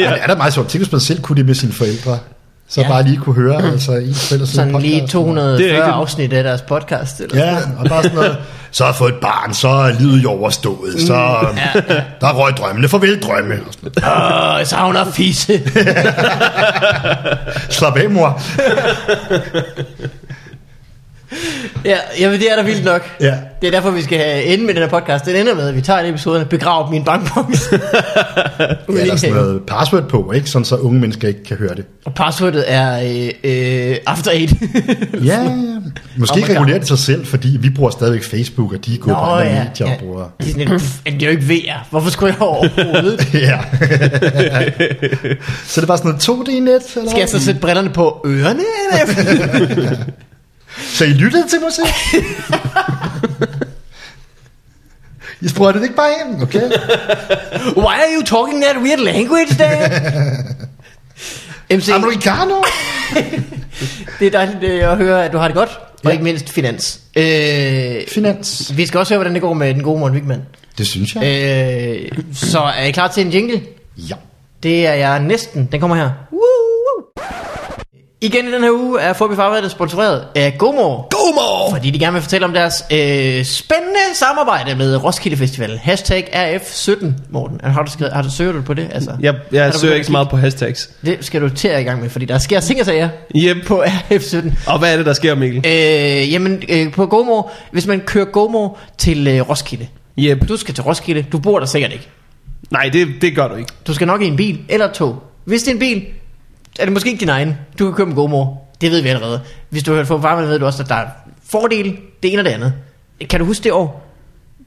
Men det er da meget sjovt. Tænk, hvis man selv kunne det med sine forældre. Så
Ja.
ja. bare lige kunne høre, altså i fælles
Sådan lige
Det er
240
rigtigt.
afsnit af deres podcast. Eller
Ja, Altså, og bare sådan noget. Så har jeg fået et barn, så er livet jo overstået, så
Mm.
øhm, der røg drømmene, farvel drømme. Og sådan noget.
Åh, jeg savner fisse.
Slap af, mor.
ja, jamen, det er da vildt nok.
Ja.
Det er derfor, vi skal have ende med den her podcast. Den ender med, at vi tager en episode og begraver min bankboks.
Ja, der er sådan noget password på, ikke? Sådan så unge mennesker ikke kan høre det.
Og passwordet er øh, øh, After Eight.
Ja, ja. Måske
Oh my
oh
God.
regulerer det sig selv, fordi vi bruger stadigvæk Facebook, og de er gået på andre ja, medier og bruger...
ja. Det er sådan lidt, pff, det er jo ikke VR. Hvorfor skulle jeg overhovedet?
Ja. så det var sådan noget 2D-net, eller
Skal jeg så sætte brillerne på ørerne? Eller?
Så I lyttede til musik? I sprøjtede det ikke bare ind, okay?
Why are you talking that weird language, Dad? MC,
Americano?
det er dejligt øh, at høre, at du har det godt. Og ja.
Ja.
ikke mindst finans. Øh,
Finans.
vi skal også høre, hvordan det går med den gode Morten Wigman.
Det synes jeg.
Øh, så er I klar til en jingle?
Ja.
Det er jeg næsten. Den kommer her. Woo, woo. Igen i den her uge er Forbi Farvedet sponsoreret af GoMore.
Godmorgen!
Fordi de gerne vil fortælle om deres øh, spændende samarbejde med Roskilde Festival. Hashtag RF17, Morten. Har du, skrevet, har du søger du på det? Altså,
Jeg,
Er
jeg
du
søger
begyndt
ikke så meget på hashtags.
Det skal du til at i gang med, fordi der sker ting og sager
Yep.
på RF17.
Og hvad er det, der sker, Mikkel?
Øh, jamen, øh, på GoMore, hvis man kører GoMore til øh, Roskilde.
Yep.
Du skal til Roskilde, du bor der sikkert ikke.
Nej, det, det gør du ikke.
Du skal nok i en bil eller et tog. Hvis det er en bil, er det måske ikke din egen. Du kan købe en GoMore. Det ved vi allerede. Hvis du har hørt fra farmen, ved du også, at der er fordele, det ene og det andet. Kan du huske det år,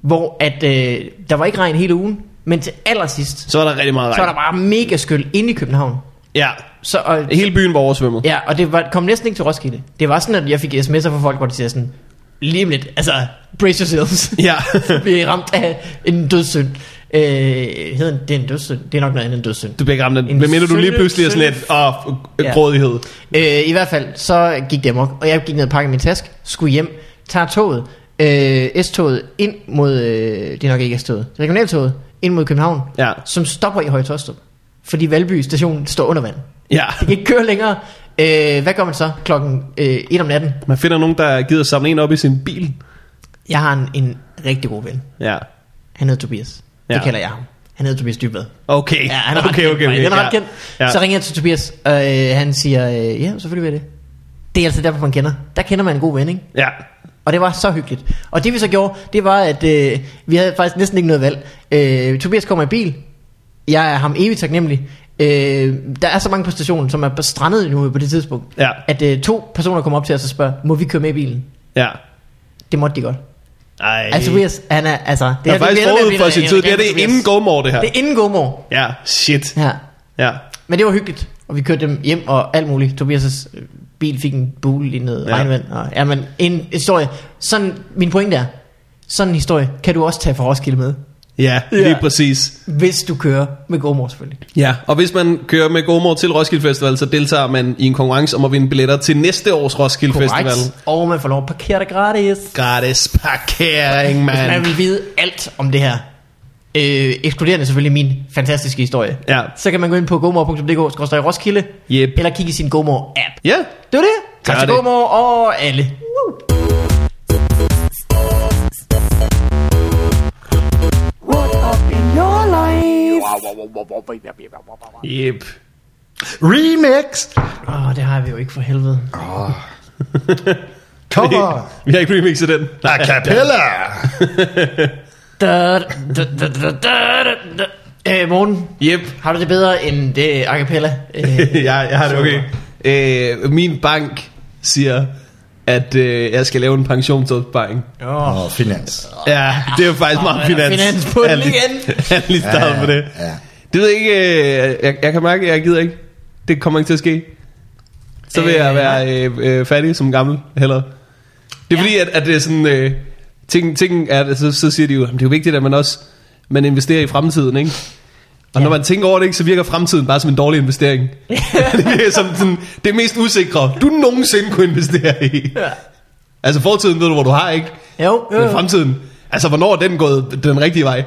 hvor at, øh, der var ikke regn hele ugen, men til allersidst,
Så er der rigtig meget regn.
så var der bare mega skyld inde i København.
Ja,
Så, og,
hele byen var oversvømmet.
Ja, og det var, kom næsten ikke til Roskilde. Det var sådan, at jeg fik sms'er fra folk, hvor de siger sådan, lige om lidt, altså, brace yourselves.
Ja.
Vi er ramt af en dødssynd. Øh, hedder den, det er en dødssynd? Det er nok noget andet end dødssynd.
Du bliver ikke ramt af
En
den. Men mener du lige
sølle-
pludselig er sådan lidt, åh,
Ja.
oh, grådighed.
Øh, I hvert fald, så gik det amok, og jeg gik ned og pakkede min taske, skulle hjem, tager toget, øh, S-toget ind mod, øh, det er nok ikke S-toget, regionaltoget ind mod København,
Ja.
som stopper i Høje Tostrup, fordi Valby station står under vand.
Ja.
Det kan ikke køre længere. Øh, hvad gør man så klokken øh, 1 om natten?
Man finder nogen, der gider samle en op i sin bil.
Jeg har en, en rigtig god ven.
Ja.
Han hedder Tobias. Ja.
Ja.
Det kalder jeg ham. Han hedder Tobias Dybvad.
Okay.
Ja, han er ret
okay,
kendt.
okay,
faktisk.
okay.
han er ret
ja.
kendt.
Ja.
Så ringer jeg til Tobias, og øh, han siger, øh, ja, selvfølgelig vil jeg det. Det er altså derfor, man kender. Der kender man en god ven, ikke?
Ja.
Og det var så hyggeligt. Og det vi så gjorde, det var, at øh, vi havde faktisk næsten ikke noget valg. Øh, Tobias kommer i bil. Jeg er ham evigt taknemmelig. Øh, der er så mange på stationen, som er strandet nu på det tidspunkt,
Ja.
at øh, to personer kommer op til os og spørger, må vi køre med i bilen?
Ja.
Det måtte de godt.
Ej.
Altså Tobias, han er, altså... Det
det er faktisk
vender med at
forud
blive
for
en
sin tid. Det er
arrogant
det inden
Tobias.
gomor, det her.
Det er inden gomor.
Ja, shit.
Ja.
Ja.
Men det var hyggeligt, og vi kørte dem hjem og alt muligt. Tobias' øh, bil fik en bule i noget
Ja.
ja. regnvand. Og, ja, men en historie. Sådan, min pointe er, sådan en historie kan du også tage fra Roskilde med,
Ja, lige præcis.
hvis du kører med gomor selvfølgelig.
Ja, og hvis man kører med gomor til Roskilde Festival, så deltager man i en konkurrence om at vinde billetter til næste års Roskilde Festival.
Og man får lov at parkere dig gratis.
Gratis parkering,
Hvis man
mand.
vil vide alt om det her, øh, ekskluderende selvfølgelig min fantastiske historie,
Ja.
så kan man gå ind på gomor.dk-roskilde,
Yep.
eller kigge i sin gomor-app.
Ja,
Det var det. Tak
Gør
til
det.
Gomor og alle.
What up in your life?
yep.
Remix!
Åh, oh, det har vi jo ikke for helvede.
Cover!
Vi har ikke remixet den.
A cappella!
Da, da, da, da, da, da, da. Øh, morgen.
Yep.
Har du det bedre end det a cappella? Øh,
jeg, jeg har det okay. Øh, min bank siger, at øh, jeg skal lave en pensionsopsparing.
Åh, oh, finans.
Ja, det er jo faktisk meget
er der
finans.
finans på den
Jeg er lige-
igen?
Jeg er lige startet
Ja,
på det.
ja.
Det ved jeg ikke, øh, jeg, jeg kan mærke, at jeg gider ikke. Det kommer ikke til at ske. Så vil
Øh,
jeg være øh, øh, fattig som gammel, heller. Det er
Ja.
fordi, at, at det er sådan... Øh, ting, ting er, så, så siger de jo, at det er jo vigtigt, at man også man investerer i fremtiden, ikke? Og ja. når man tænker over det, ikke, så virker fremtiden bare som en dårlig investering. det virker som sådan, det mest usikre, du nogensinde kunne investere i.
Ja.
Altså fortiden ved du, hvor du har, ikke?
jo, jo,
Men
jo.
fremtiden, altså hvornår er den gået den rigtige vej?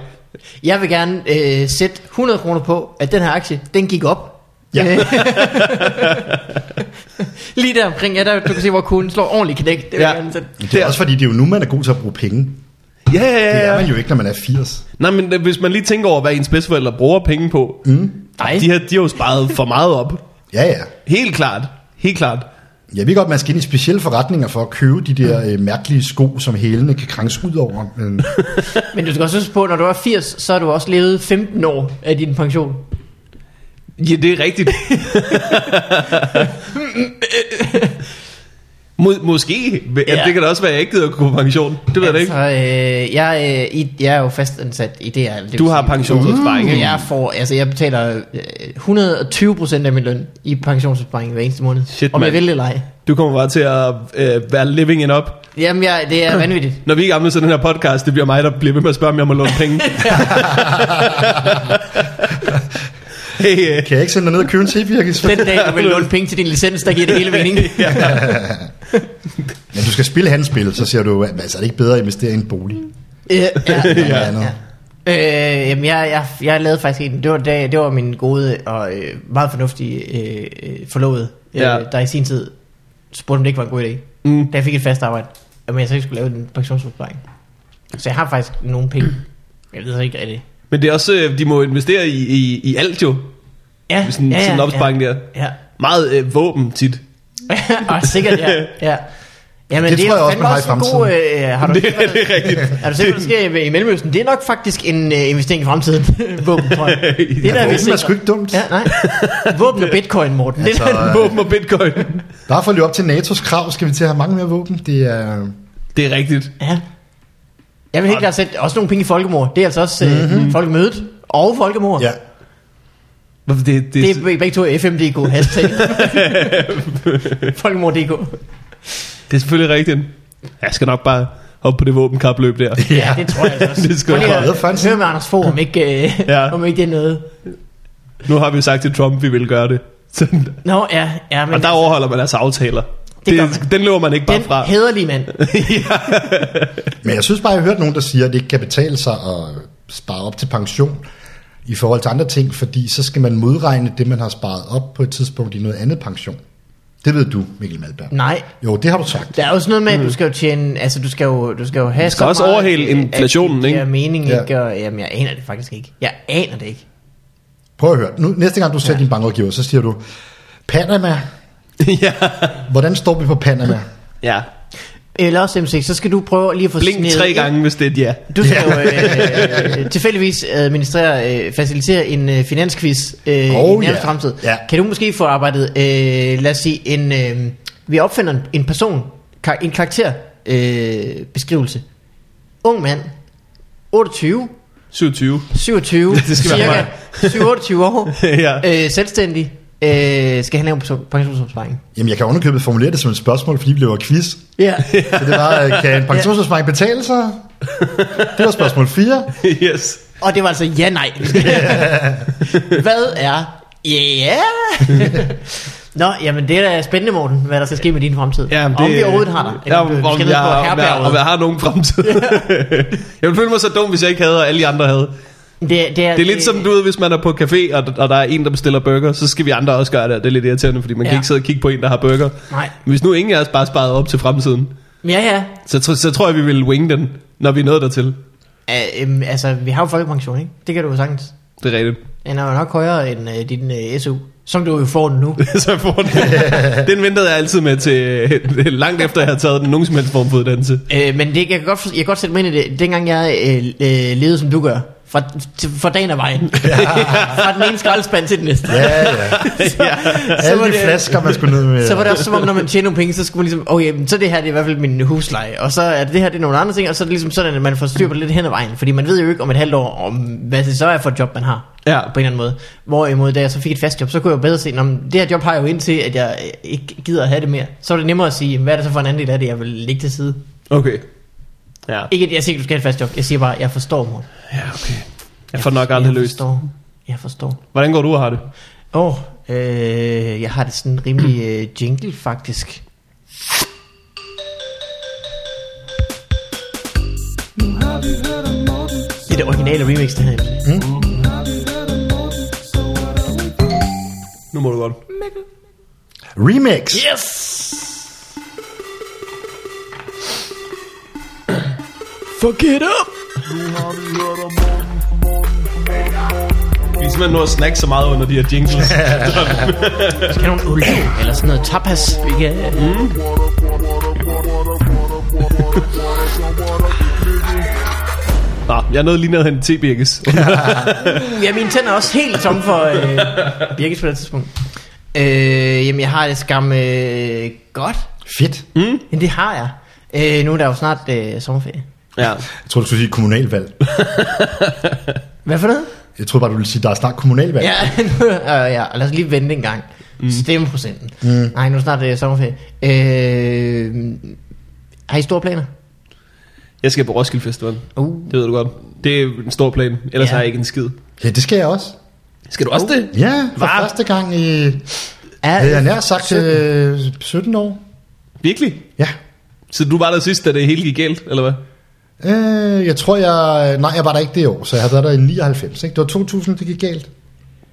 Jeg vil gerne øh, sætte 100 kroner på, at den her aktie, den gik op.
Ja.
Øh. Lige der omkring, ja, der, du kan se, hvor kuglen slår ordentligt knæk. Det vil
Ja.
ja. jeg gerne sætte.
Det er også fordi, det er jo nu, man er god til at bruge penge.
Ja, ja,
Det
ja.
er
ja.
man jo ikke, når man er 80.
Nej, men øh, hvis man lige tænker over, hvad ens bedsteforældre bruger penge på, mm.
Nej,
de, har, de har jo sparet for meget op.
Ja, ja.
Helt klart. Helt klart.
Jeg ved godt, man skal ind i specielle forretninger for at købe de
Mm.
der øh, mærkelige sko, som hælene kan kranse ud over. Men,
men du skal også huske på, når du er 80, så har du også levet 15 år af din pension.
Ja, det er rigtigt. Må, måske. Ja.
Ja.
Det kan da også være, at jeg ikke gider at gå på pension. Det ved jeg da ikke.
ikke. Øh, jeg, øh, i, jeg er jo fastansat i DR. Det vil
Du har
sige-
pensionsopsparing,
Mm.
ikke?
Jeg, får, altså, jeg betaler øh, 120% af min løn i pensionsopsparing hver eneste måned.
Shit,
Om jeg
mand.
vil eller ej.
Du kommer bare til at øh, være living it up.
Jamen, jeg, det er vanvittigt.
Når vi er gamle, så den her podcast, det bliver mig, der bliver ved med at spørge, om jeg må låne penge. hey, øh,
kan jeg ikke sende dig ned og købe en tebirkes?
Den dag, du vil låne penge til din licens, der giver det hele mening.
Men du skal spille hans spil, så siger du, altså er det ikke bedre at investere i en bolig?
ja, ja.
Ja, ja.
Øh, jamen, jeg, jeg, jeg lavede faktisk en. Det var, da, det var min gode og øh, meget fornuftige øh, øh, forlovede, øh,
Ja.
der i sin tid spurgte, om det ikke var en god idé.
Mm.
Da jeg fik et fast arbejde, om jeg så ikke skulle lave en pensionsopsparing. Så jeg har faktisk nogle penge. Jeg ved så ikke rigtigt.
Men det er også, øh, de må investere i, i, i alt jo.
Ja,
Sådan-
ja, ja,
sådan en opsparing
ja,
der.
Ja,
Meget øh, våben tit.
og sikkert, ja. ja. Jamen,
Det
det, det
tror
er
jeg også,
fandme
man har i
også en god... Øh, har du
Det, det er rigtigt.
Er du sikker, hvad der sker i- i Mellemøsten? Det er nok faktisk en øh, investering i fremtiden. våben, tror jeg. Det er der, vi
våben er
sikrer.
sgu ikke dumt.
Ja, nej. Våben og bitcoin, Morten. Det er
Altså,
der-
Våben og bitcoin.
Bare for at leve op til NATO's krav, skal vi til at have mange mere våben. Det er...
Det er rigtigt.
ja. Jeg vil helt klart sætte også nogle penge i folkemord. Det er altså også øh,
Mhm.
mm-hmm. folkemødet og folkemord.
Ja.
Hvorfor Det,
Det
det,
er begge to øh, FMDK hashtag. Folkemord.dk.
det er selvfølgelig rigtigt. Jeg skal nok bare hoppe på det våbenkapløb der.
Ja, det tror jeg altså også.
Det skal
Prøv lige
jeg
at
have. Fransen.
Hør med Anders Fogh, om ikke, øh,
Ja.
ja. om ikke det er noget.
Nu har vi jo sagt til Trump, vi vil gøre det. Sådan.
Nå, ja. ja men,
Og der overholder man altså aftaler.
Det gør man.
det, den løber man ikke bare
Den
fra.
hederlige mand.
Men jeg synes bare, jeg har hørt nogen, der siger, at det ikke kan betale sig at spare op til pension i forhold til andre ting, fordi så skal man modregne det, man har sparet op på et tidspunkt i noget andet pension. Det ved du, Mikkel Malberg.
Nej.
Jo, det har du sagt.
Der er jo sådan noget med,
Mm.
at du skal jo tjene, altså du skal jo, du skal jo have
skal også overhale inflationen,
ikke?
ikke?
Det giver mening,
Ja.
ikke? Og, jamen, jeg aner det faktisk ikke. Jeg aner det ikke.
Prøv at høre. Nu, næste gang du ser ja. din bankrådgiver, så siger du, Panama,
ja.
hvordan står vi på Panama?
ja.
Eller også MC, så skal du prøve lige at få
Blink
sneget
tre
ind-
gange, hvis det er et ja.
Du skal jo øh, tilfældigvis administrere, øh, facilitere en øh, finansquiz øh, oh, i
Oh,
nærmeste
ja.
fremtid.
Ja.
Kan du måske få arbejdet, øh, lad os sige, en, øh, vi opfinder en, en person, kar- en karakter øh, beskrivelse. Ung mand, 28,
27.
27,
Det skal være
cirka
mig.
27 år,
Ja.
øh, selvstændig, øh, skal han lave en person- pensionsopsparing.
Jamen, jeg kan underkøbet formulere det som et spørgsmål, fordi vi laver quiz.
Ja.
Så det var, øh, kan en pensionsopsparing betale sig? Det var spørgsmål 4.
Øh,
yes.
Og det var altså ja, nej. Hvad er... Ja! Nå, jamen det er da spændende, Morten, hvad der skal ske med din fremtid.
Ja, men
om vi overhovedet har dig.
Ja, om, om, jeg, har- om, jeg, om jeg
har,
har nogen fremtid. jeg ville føle mig så dum, hvis jeg ikke havde, og alle de andre havde.
det, det, er,
Det er lidt som, du ved, hvis man er på café, og, og der er en, der bestiller burger, så skal vi andre også gøre det, og det er lidt irriterende, fordi man ja.
Ja.
kan ikke sidde og kigge på en, der har burger.
Nej.
Men hvis nu ingen af os bare sparede op til fremtiden,
Ja, ja.
så, tr- så tror jeg, vi vil wing den, når vi er nået dertil.
Uh, um, altså, vi har jo folkepension, ikke? Det kan du jo sagtens.
Det er rigtigt.
Den er jo nok højere end uh, din uh, SU, som du jo får nu.
så jeg får den. den ventede jeg altid med til langt efter, jeg havde taget den nogen som helst form for uddannelse.
Øh, men det, jeg, kan godt, for- jeg kan godt sætte mig ind i det. Dengang jeg øh, øh, levede, som du gør, fra, til, fra dagen af vejen. Ja. fra den ene skraldespand til den næste.
Ja, ja.
Så, så,
Alle
var
de
det,
flasker, man skulle ned med.
så var det også som om, når man tjener nogle penge, så skulle man ligesom, okay, men så det her det er i hvert fald min husleje, og så er det her det er nogle andre ting, og så er det ligesom sådan, at man får styr på det lidt hen ad vejen, fordi man ved jo ikke om et halvt år, om hvad det så er for et job, man har.
Ja.
På en eller anden måde. Hvorimod, da jeg så fik et fast job, så kunne jeg jo bedre se, om det her job har jeg jo indtil, at jeg øh, ikke gider at have det mere. Så er det nemmere at sige, hvad er det så for en anden del af det, jeg vil lægge til side.
Okay. Ja,
Ikke, at jeg siger, at du skal have et fast job. Jeg siger bare, at jeg forstår, mor.
ja okay. Jeg får nok aldrig
jeg
løst.
Forstår. Jeg forstår.
Hvordan går du og har det?
Åh, oh, øh, jeg har det sådan rimelig øh, jingle, faktisk. Det er det originale remix, det her. Mm.
Nu må du godt.
Remix.
Yes! Fuck it up!
Vi er simpelthen nået at snakke så meget under de her jingles.
Skal nogle øl eller sådan noget tapas, vi kan... Mm.
Nå, jeg nåede lige ned hen til Birkes.
Ja, mine tænder er også helt tomme for øh, Birgit på det tidspunkt. Øh, jamen, jeg har det skam øh, godt.
Fedt.
Men det har jeg. Øh, nu er der jo snart øh, sommerferie.
ja.
Jeg tror, du skulle sige kommunalvalg.
Hvad for noget?
Jeg tror bare, du ville sige, der er snart kommunalvalg.
Ja, nu, øh, ja, lad os lige vente en gang. Mm. Stemmeprocenten. Mm. Nej, nu er det snart øh, sommerferie. Øh, har I store planer?
Jeg skal på Roskilde Festival.
Uh.
Det ved du godt. Det er en stor plan. Ellers
Ja.
ja. har jeg ikke en skid.
Ja, det skal jeg også.
Skal du også det?
Ja, for
Hva?
første gang i,
Er,
havde jeg nær sagt, øh, 17 år.
Virkelig?
Ja.
Så du var der sidst, da det hele gik galt, eller hvad?
Øh, jeg tror, jeg... Nej, jeg var der ikke det år, så jeg havde været der i 99. Ikke? Det var 2000, det gik galt.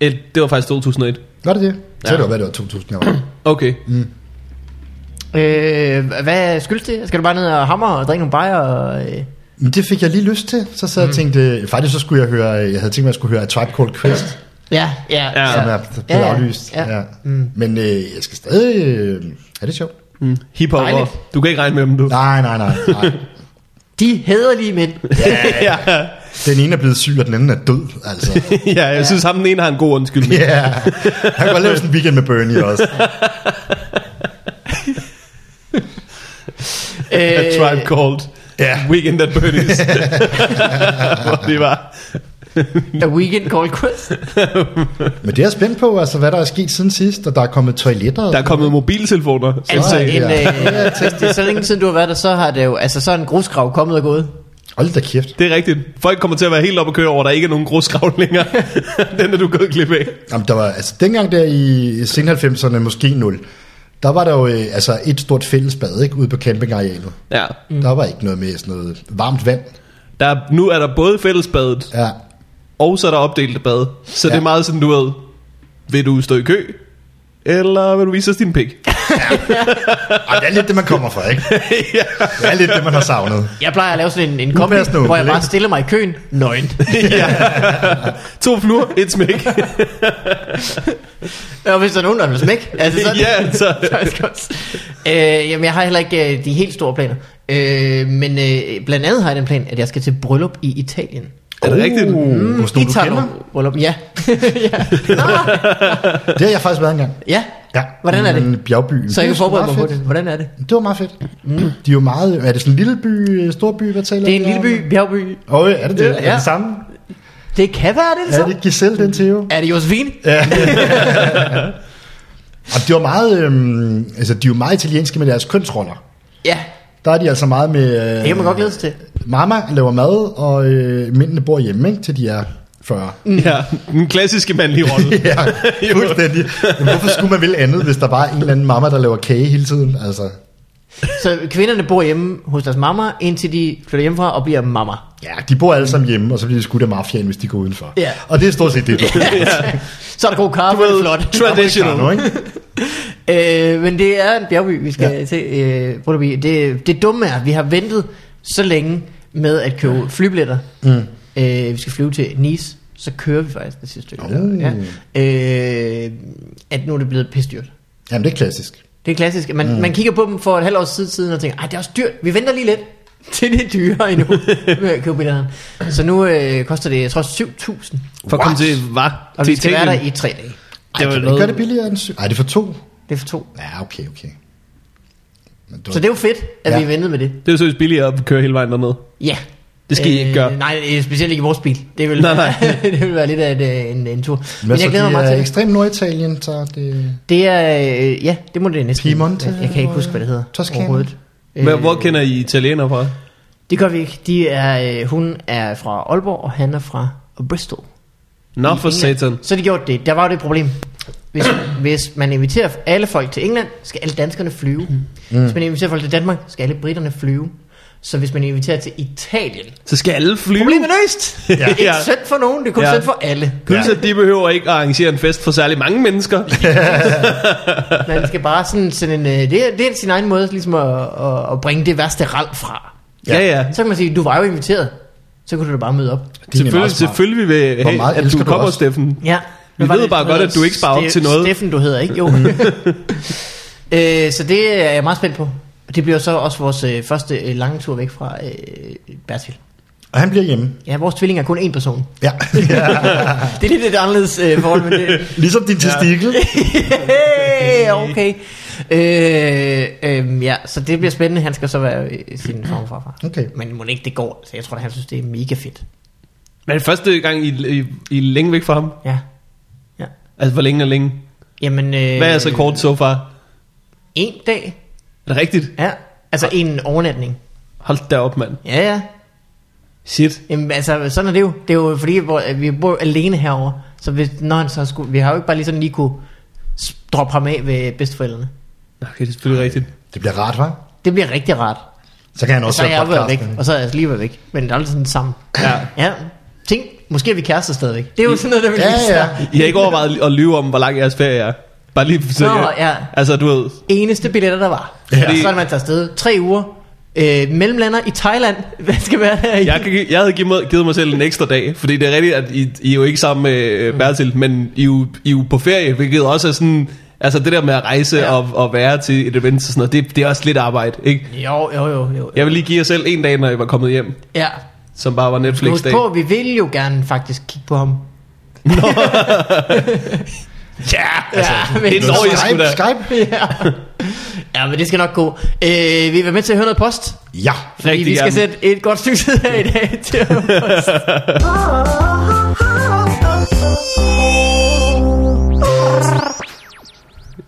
Eh, Det var faktisk 2001.
Var det det? Så
Ja.
ja. det var, hvad det var 2000, jeg var.
Okay.
Mm.
øh, hvad skyldes det? Skal du bare ned og hammer og drikke nogle bajer? Og, øh,
Men det fik jeg lige lyst til. Så sad jeg og tænkte... Faktisk så skulle jeg høre... Jeg havde tænkt mig, at jeg skulle høre A Tribe Called Quest,
ja, ja,
Ja.
som er blevet
Ja, ja.
aflyst.
Ja.
Mm. Men øh, jeg skal stadig... Øh, er det sjovt?
Mm. Hiphop.
Dejligt.
og- Du kan ikke regne med dem, du.
Nej, nej, nej. nej.
De hederlige mænd.
ja.
Den ene er blevet syg, og den anden er død, altså.
ja, jeg synes, ham den ene har en god undskyldning.
Ja, yeah. han kunne godt lave sådan en weekend med Bernie også.
A
Øh,
Tribe Called
Ja.
Weekend at Bernie's. Hvor det var.
A weekend called quest.
Men det er jeg spændt på, altså hvad der er sket siden sidst, og der er kommet toiletter. og
Der er kommet mobiltelefoner. Så
Altså,
altså,
en,
ja.
øh, det er så længe siden du har været der, så har det jo, altså så er en grusgrav kommet og gået.
Hold da kæft.
det er rigtigt. Folk kommer til at være helt oppe at køre over, der ikke er nogen grusgrav længere. den er du gået glip af.
Jamen, der var, altså dengang der i sen 90'erne, måske 0, der var der jo øh, altså et stort fællesbad ikke, ude på campingarealet.
Ja.
Mm. Der var ikke noget med sådan noget varmt vand.
Der, er- nu er der både fællesbadet,
Ja,
og så er der opdelte bad. Så ja.
Ja.
det er meget sådan, du ved, vil du stå i kø, eller vil du vise os din pik?
og det er lidt det, man kommer fra, ikke?
ja.
Det er lidt det, man har savnet.
Jeg plejer at lave sådan en, en kombi,
Upassende
hvor jeg
onkel,
bare
ikke?
stiller mig i køen. Nøgen.
To fluer, et smæk.
Og hvis der er nogen, der vil smæk. Altså, så,
ja, så,
faktisk også. Øh, jamen, jeg har heller ikke øh, de helt store planer. Øh, men øh, blandt andet har jeg den plan, at jeg skal til bryllup i Italien.
er det rigtigt?
Mm, Hos nogen, du
Italo.
kender?
Bryllup, ja. ja.
Det har jeg faktisk været engang.
ja.
Ja.
Hvordan er det?
Mm, Bjergbyen.
Så jeg kan
Det er sgu
forberede mig
meget
på
fedt.
det. Hvordan er det?
Det var meget fedt. Mm. De er jo meget... Er det sådan en lille by, øh, stor by, hvad taler
Det er en
vi
lille
om?
by, bjergby.
Åh, oh, er det det?
Ja.
Ja. Er det samme?
Det kan være det,
Er
så.
det Giselle, den til jo?
Er det Josefine?
Og de er jo meget, øhm, altså, de er jo meget italienske med deres kønsroller.
Ja.
Der er de altså meget med... Øh,
Det kan man godt glæde sig til.
Mama laver mad, og øh, mændene bor hjemme, ikke? Til de er 40.
Ja, den klassiske mandlige rolle.
Ja, fuldstændig. Men hvorfor skulle man ville andet, hvis der bare er en eller anden mamma, der laver kage hele tiden? Altså,
Så kvinderne bor hjemme hos deres mamma, indtil de flytter hjemmefra og bliver mamma.
ja, de bor alle sammen hjemme, og så bliver de skudt af mafiaen, hvis de går udenfor.
Ja.
Og det er stort set det, du
Så er der god kaffe, det er flot.
Traditional.
ikke?
Øh, men det er en bjergby, vi skal ja.
Ja.
til. Øh, Brøndby. det, det dumme er, at vi har ventet så længe med at købe flybilletter. Mm. Øh, vi skal flyve til Nice, så kører vi faktisk det sidste stykke.
Oh.
Ja. Øh, at nu er det blevet pisdyrt.
Jamen, det er klassisk.
Det er klassisk. Man, mm. man kigger på dem for et halvt års tid siden og tænker, ej, det er også dyrt. Vi venter lige lidt til det er dyrere endnu med at købe billetterne. Så nu øh, koster det, jeg tror, 7.000.
For at komme til, hvad?
Og
Til
vi skal være der
Italien.
i tre dage.
Ej,
Det
det
var
kan man
noget-
ikke gøre det billigere end syv? Ej, det er for to.
Det er for to.
Ja, okay, okay. Men du,
Så det er jo fedt, at ja.
Ja.
vi ventede med det.
Det er jo seriøst billigere at køre hele vejen derned.
Ja.
Det skal I ikke gøre.
Nej, øh, specielt ikke i vores bil. Det vil,
Nej, nej.
det vil være lidt af et, øh, en, en tur. Men,
men
jeg glæder mig meget til det.
ekstrem Norditalien, så det...
Det er, øh, ja, det må det næsten.
Piemonte,
Jeg, jeg kan ikke huske, hvad det hedder
Toscana.
overhovedet. Øh,
Men hvor kender I italiener fra?
Det gør vi ikke. De er, øh, hun er fra Aalborg, og han er fra Bristol.
Nå,
i
for
England.
satan.
Så de gjorde det. Der var jo det problem. Hvis, hvis man inviterer alle folk til England, skal alle danskerne flyve. Mm. Hvis man inviterer folk til Danmark, skal alle britterne flyve. Så hvis man inviterer til Italien...
Så skal alle flyve.
Problemet løst! Det er ikke synd for nogen, det er kun
Ja.
synd for alle.
Plus, at de behøver ikke at arrangere en fest for særlig mange mennesker.
Man skal bare sådan sende en... øh, Det er, det er sin egen måde ligesom at, at, at bringe det værste rald fra.
ja, ja.
Så kan man sige, du var jo inviteret. Så kunne du da bare møde op.
Selvfølgelig, selvfølgelig vil
Hvor
hey,
meget
at du
elsker du
kommer,
os?
Steffen.
Ja.
Vi
Hvad var
ved
det,
bare
hvad
godt,
hedder
at du ikke sparer op
Ste-
til noget. Mm.
Steffen, du hedder, ikke? Jo. øh, så det er jeg meget spændt på. Og det bliver så også vores øh, første øh, lange tur væk fra øh, Bertil.
Og han bliver hjemme.
Ja, vores tvilling er kun én person.
Ja.
Det er lidt et anderledes øh, forhold, men det,
ligesom din testikel.
hey, okay. Øh, øh, ja, så det bliver spændende. Han skal så være øh, sin farfar.
Okay.
Men må det ikke det går. Så jeg tror, at han synes, det er mega fedt.
Men første gang, I, I, I er længe væk fra ham.
Ja.
Altså, hvor længe er længe?
Jamen, øh,
Hvad er jeres rekord så so far?
En dag.
Er det rigtigt?
Ja. Altså en overnatning.
Hold da op, mand.
Ja, ja.
Shit.
Jamen, altså, sådan er det jo. Det er jo fordi, hvor, at vi bor alene herover. Så hvis, når han så skulle, vi har jo ikke bare lige sådan lige kunne s- droppe ham af ved bedsteforældrene.
Okay, det er selvfølgelig rigtigt.
det bliver rart, hva'?
Det bliver rigtig rart.
Så kan han
Og
også
så er
høre
jeg været væk,
podcasten.
og så er jeg altså lige været væk. Men det er aldrig sådan sammen.
Ja.
Ja, tænk, måske er vi kærester stadigvæk. Det er jo sådan noget, der vil
Ja,
vise
ja.
sig.
I har ikke overvejet at lyve om, hvor lang jeres ferie er. Bare lige for
Nå, ja.
Altså, du ved.
Eneste billetter, der var. Ja.
Ja.
Så er man tager afsted. Tre uger. Øh, mellemlander i Thailand. Hvad skal være der i?
Jeg, kan gi- jeg havde givet mig, givet mig selv en ekstra dag, fordi det er rigtigt, at I, I er jo ikke sammen med
Mm.
øh, Bertil, men I er, jo, I er jo på ferie, hvilket også er sådan... Altså det der med at rejse
Ja.
ja. og, og være til et event og sådan noget, det, det er også lidt arbejde, ikke?
Jo, jo, jo. jo.
Jeg vil lige give jer selv en dag, når I var kommet hjem,
Ja.
som bare var
Husk
Netflix-dag.
på, vi vil jo gerne faktisk kigge på ham.
Ja,
Altså, ja, men,
det er Nå, jeg skulle
Skype,
da-
Skype.
ja. ja, men det skal nok gå. Øh, vil I være med til at høre noget post?
Ja.
Fordi
Rigtig
vi skal
gerne.
sætte et godt stykke tid her i dag til at høre post.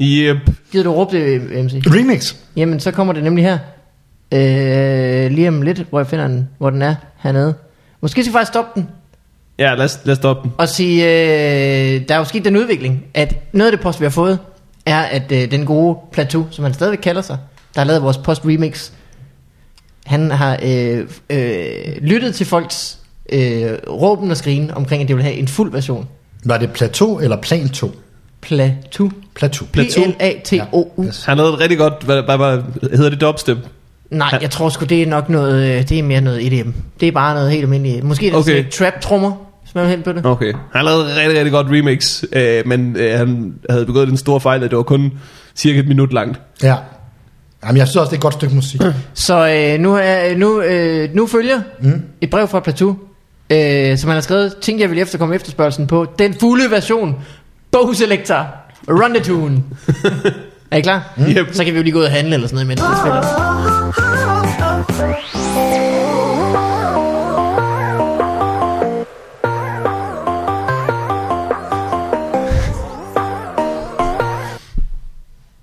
Yep.
Gider du råbe det, MC?
Remix.
Jamen, så kommer det nemlig her. Øh, lige om lidt, hvor jeg finder den, hvor den er hernede. Måske skal vi faktisk stoppe den
Ja, lad os, lad os stoppe den.
og sige, øh, der er jo sket den udvikling, at noget af det post, vi har fået, er, at øh, den gode Plateau, som han stadigvæk kalder sig, der har lavet vores post-remix, han har øh, øh, lyttet til folks øh, råben og skrigen omkring, at de vil have en fuld version.
Var det plateau eller plan 2?
Plateau.
Plateau.
P-L-A-T-O-U.
Ja, yes.
Han lavede et rigtig godt, hvad, hvad, hvad hedder det dubstep?
Nej, jeg tror sgu, det er nok noget, øh, det er mere noget EDM. Det er bare noget helt almindeligt. Måske er det
Okay.
okay. sådan trap-trummer, hvis man vil hen på det.
Okay. Han lavede et rigtig, rigtig godt remix, øh, men øh, han havde begået den store fejl, at det var kun cirka et minut langt.
Ja. Jamen, jeg synes også, det er et godt stykke musik.
Så øh, nu, er, nu, øh, nu følger mm. et brev fra Plateau, øh, som han har skrevet. Tænkte jeg ville efterkomme efterspørgselen på den fulde version. Bogselektor. Run the tune. er I klar? Mm.
Yep.
Så kan vi jo lige gå ud og handle eller sådan noget imens. Det er fedt.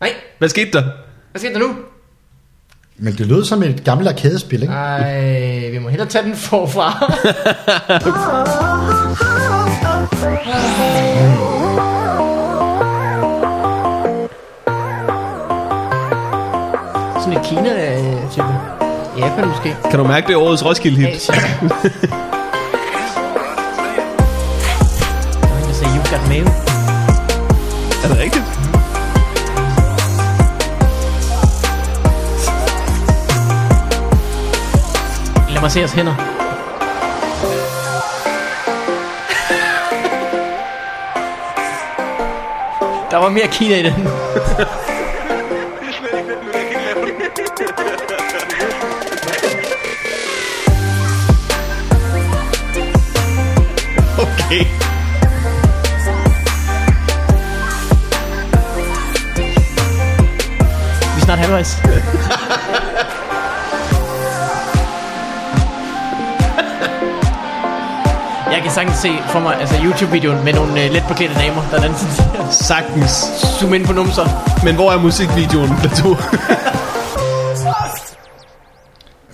Nej,
Hvad skete der?
hvad sker der nu?
Men det lød som et gammelt arkadespil, ikke?
Ah.
Ej, vi må hellere tage den forfra. Sådan et Kina-type. Japan måske.
Kan du mærke det er årets Roskilde hit?
Asien. Der er en, der sagde, "You got mail." Mm-hmm.
Er det rigtigt?
Lad mig se jeres hænder. Der var mere Kina i den.
Okay.
Vi er snart halvvejs. Jeg kan sagtens se for mig, altså YouTube-videoen med nogle øh, let beklædte damer, der danser.
Sagtens.
Zoom ind på numser.
Men hvor er musikvideoen, Plateau?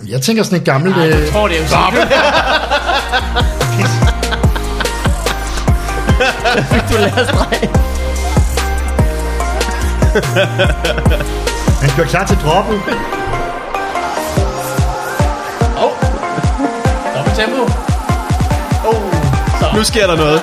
Jeg tænker sådan et gammelt...
Ah.
Ej,
Øh,
jeg tror det er jo sådan. Der fik du lærer streg.
han gjorde klar til droppet.
Åh. Oh. Dobbelt tempo. Åh. Oh. Så.
Nu sker der noget.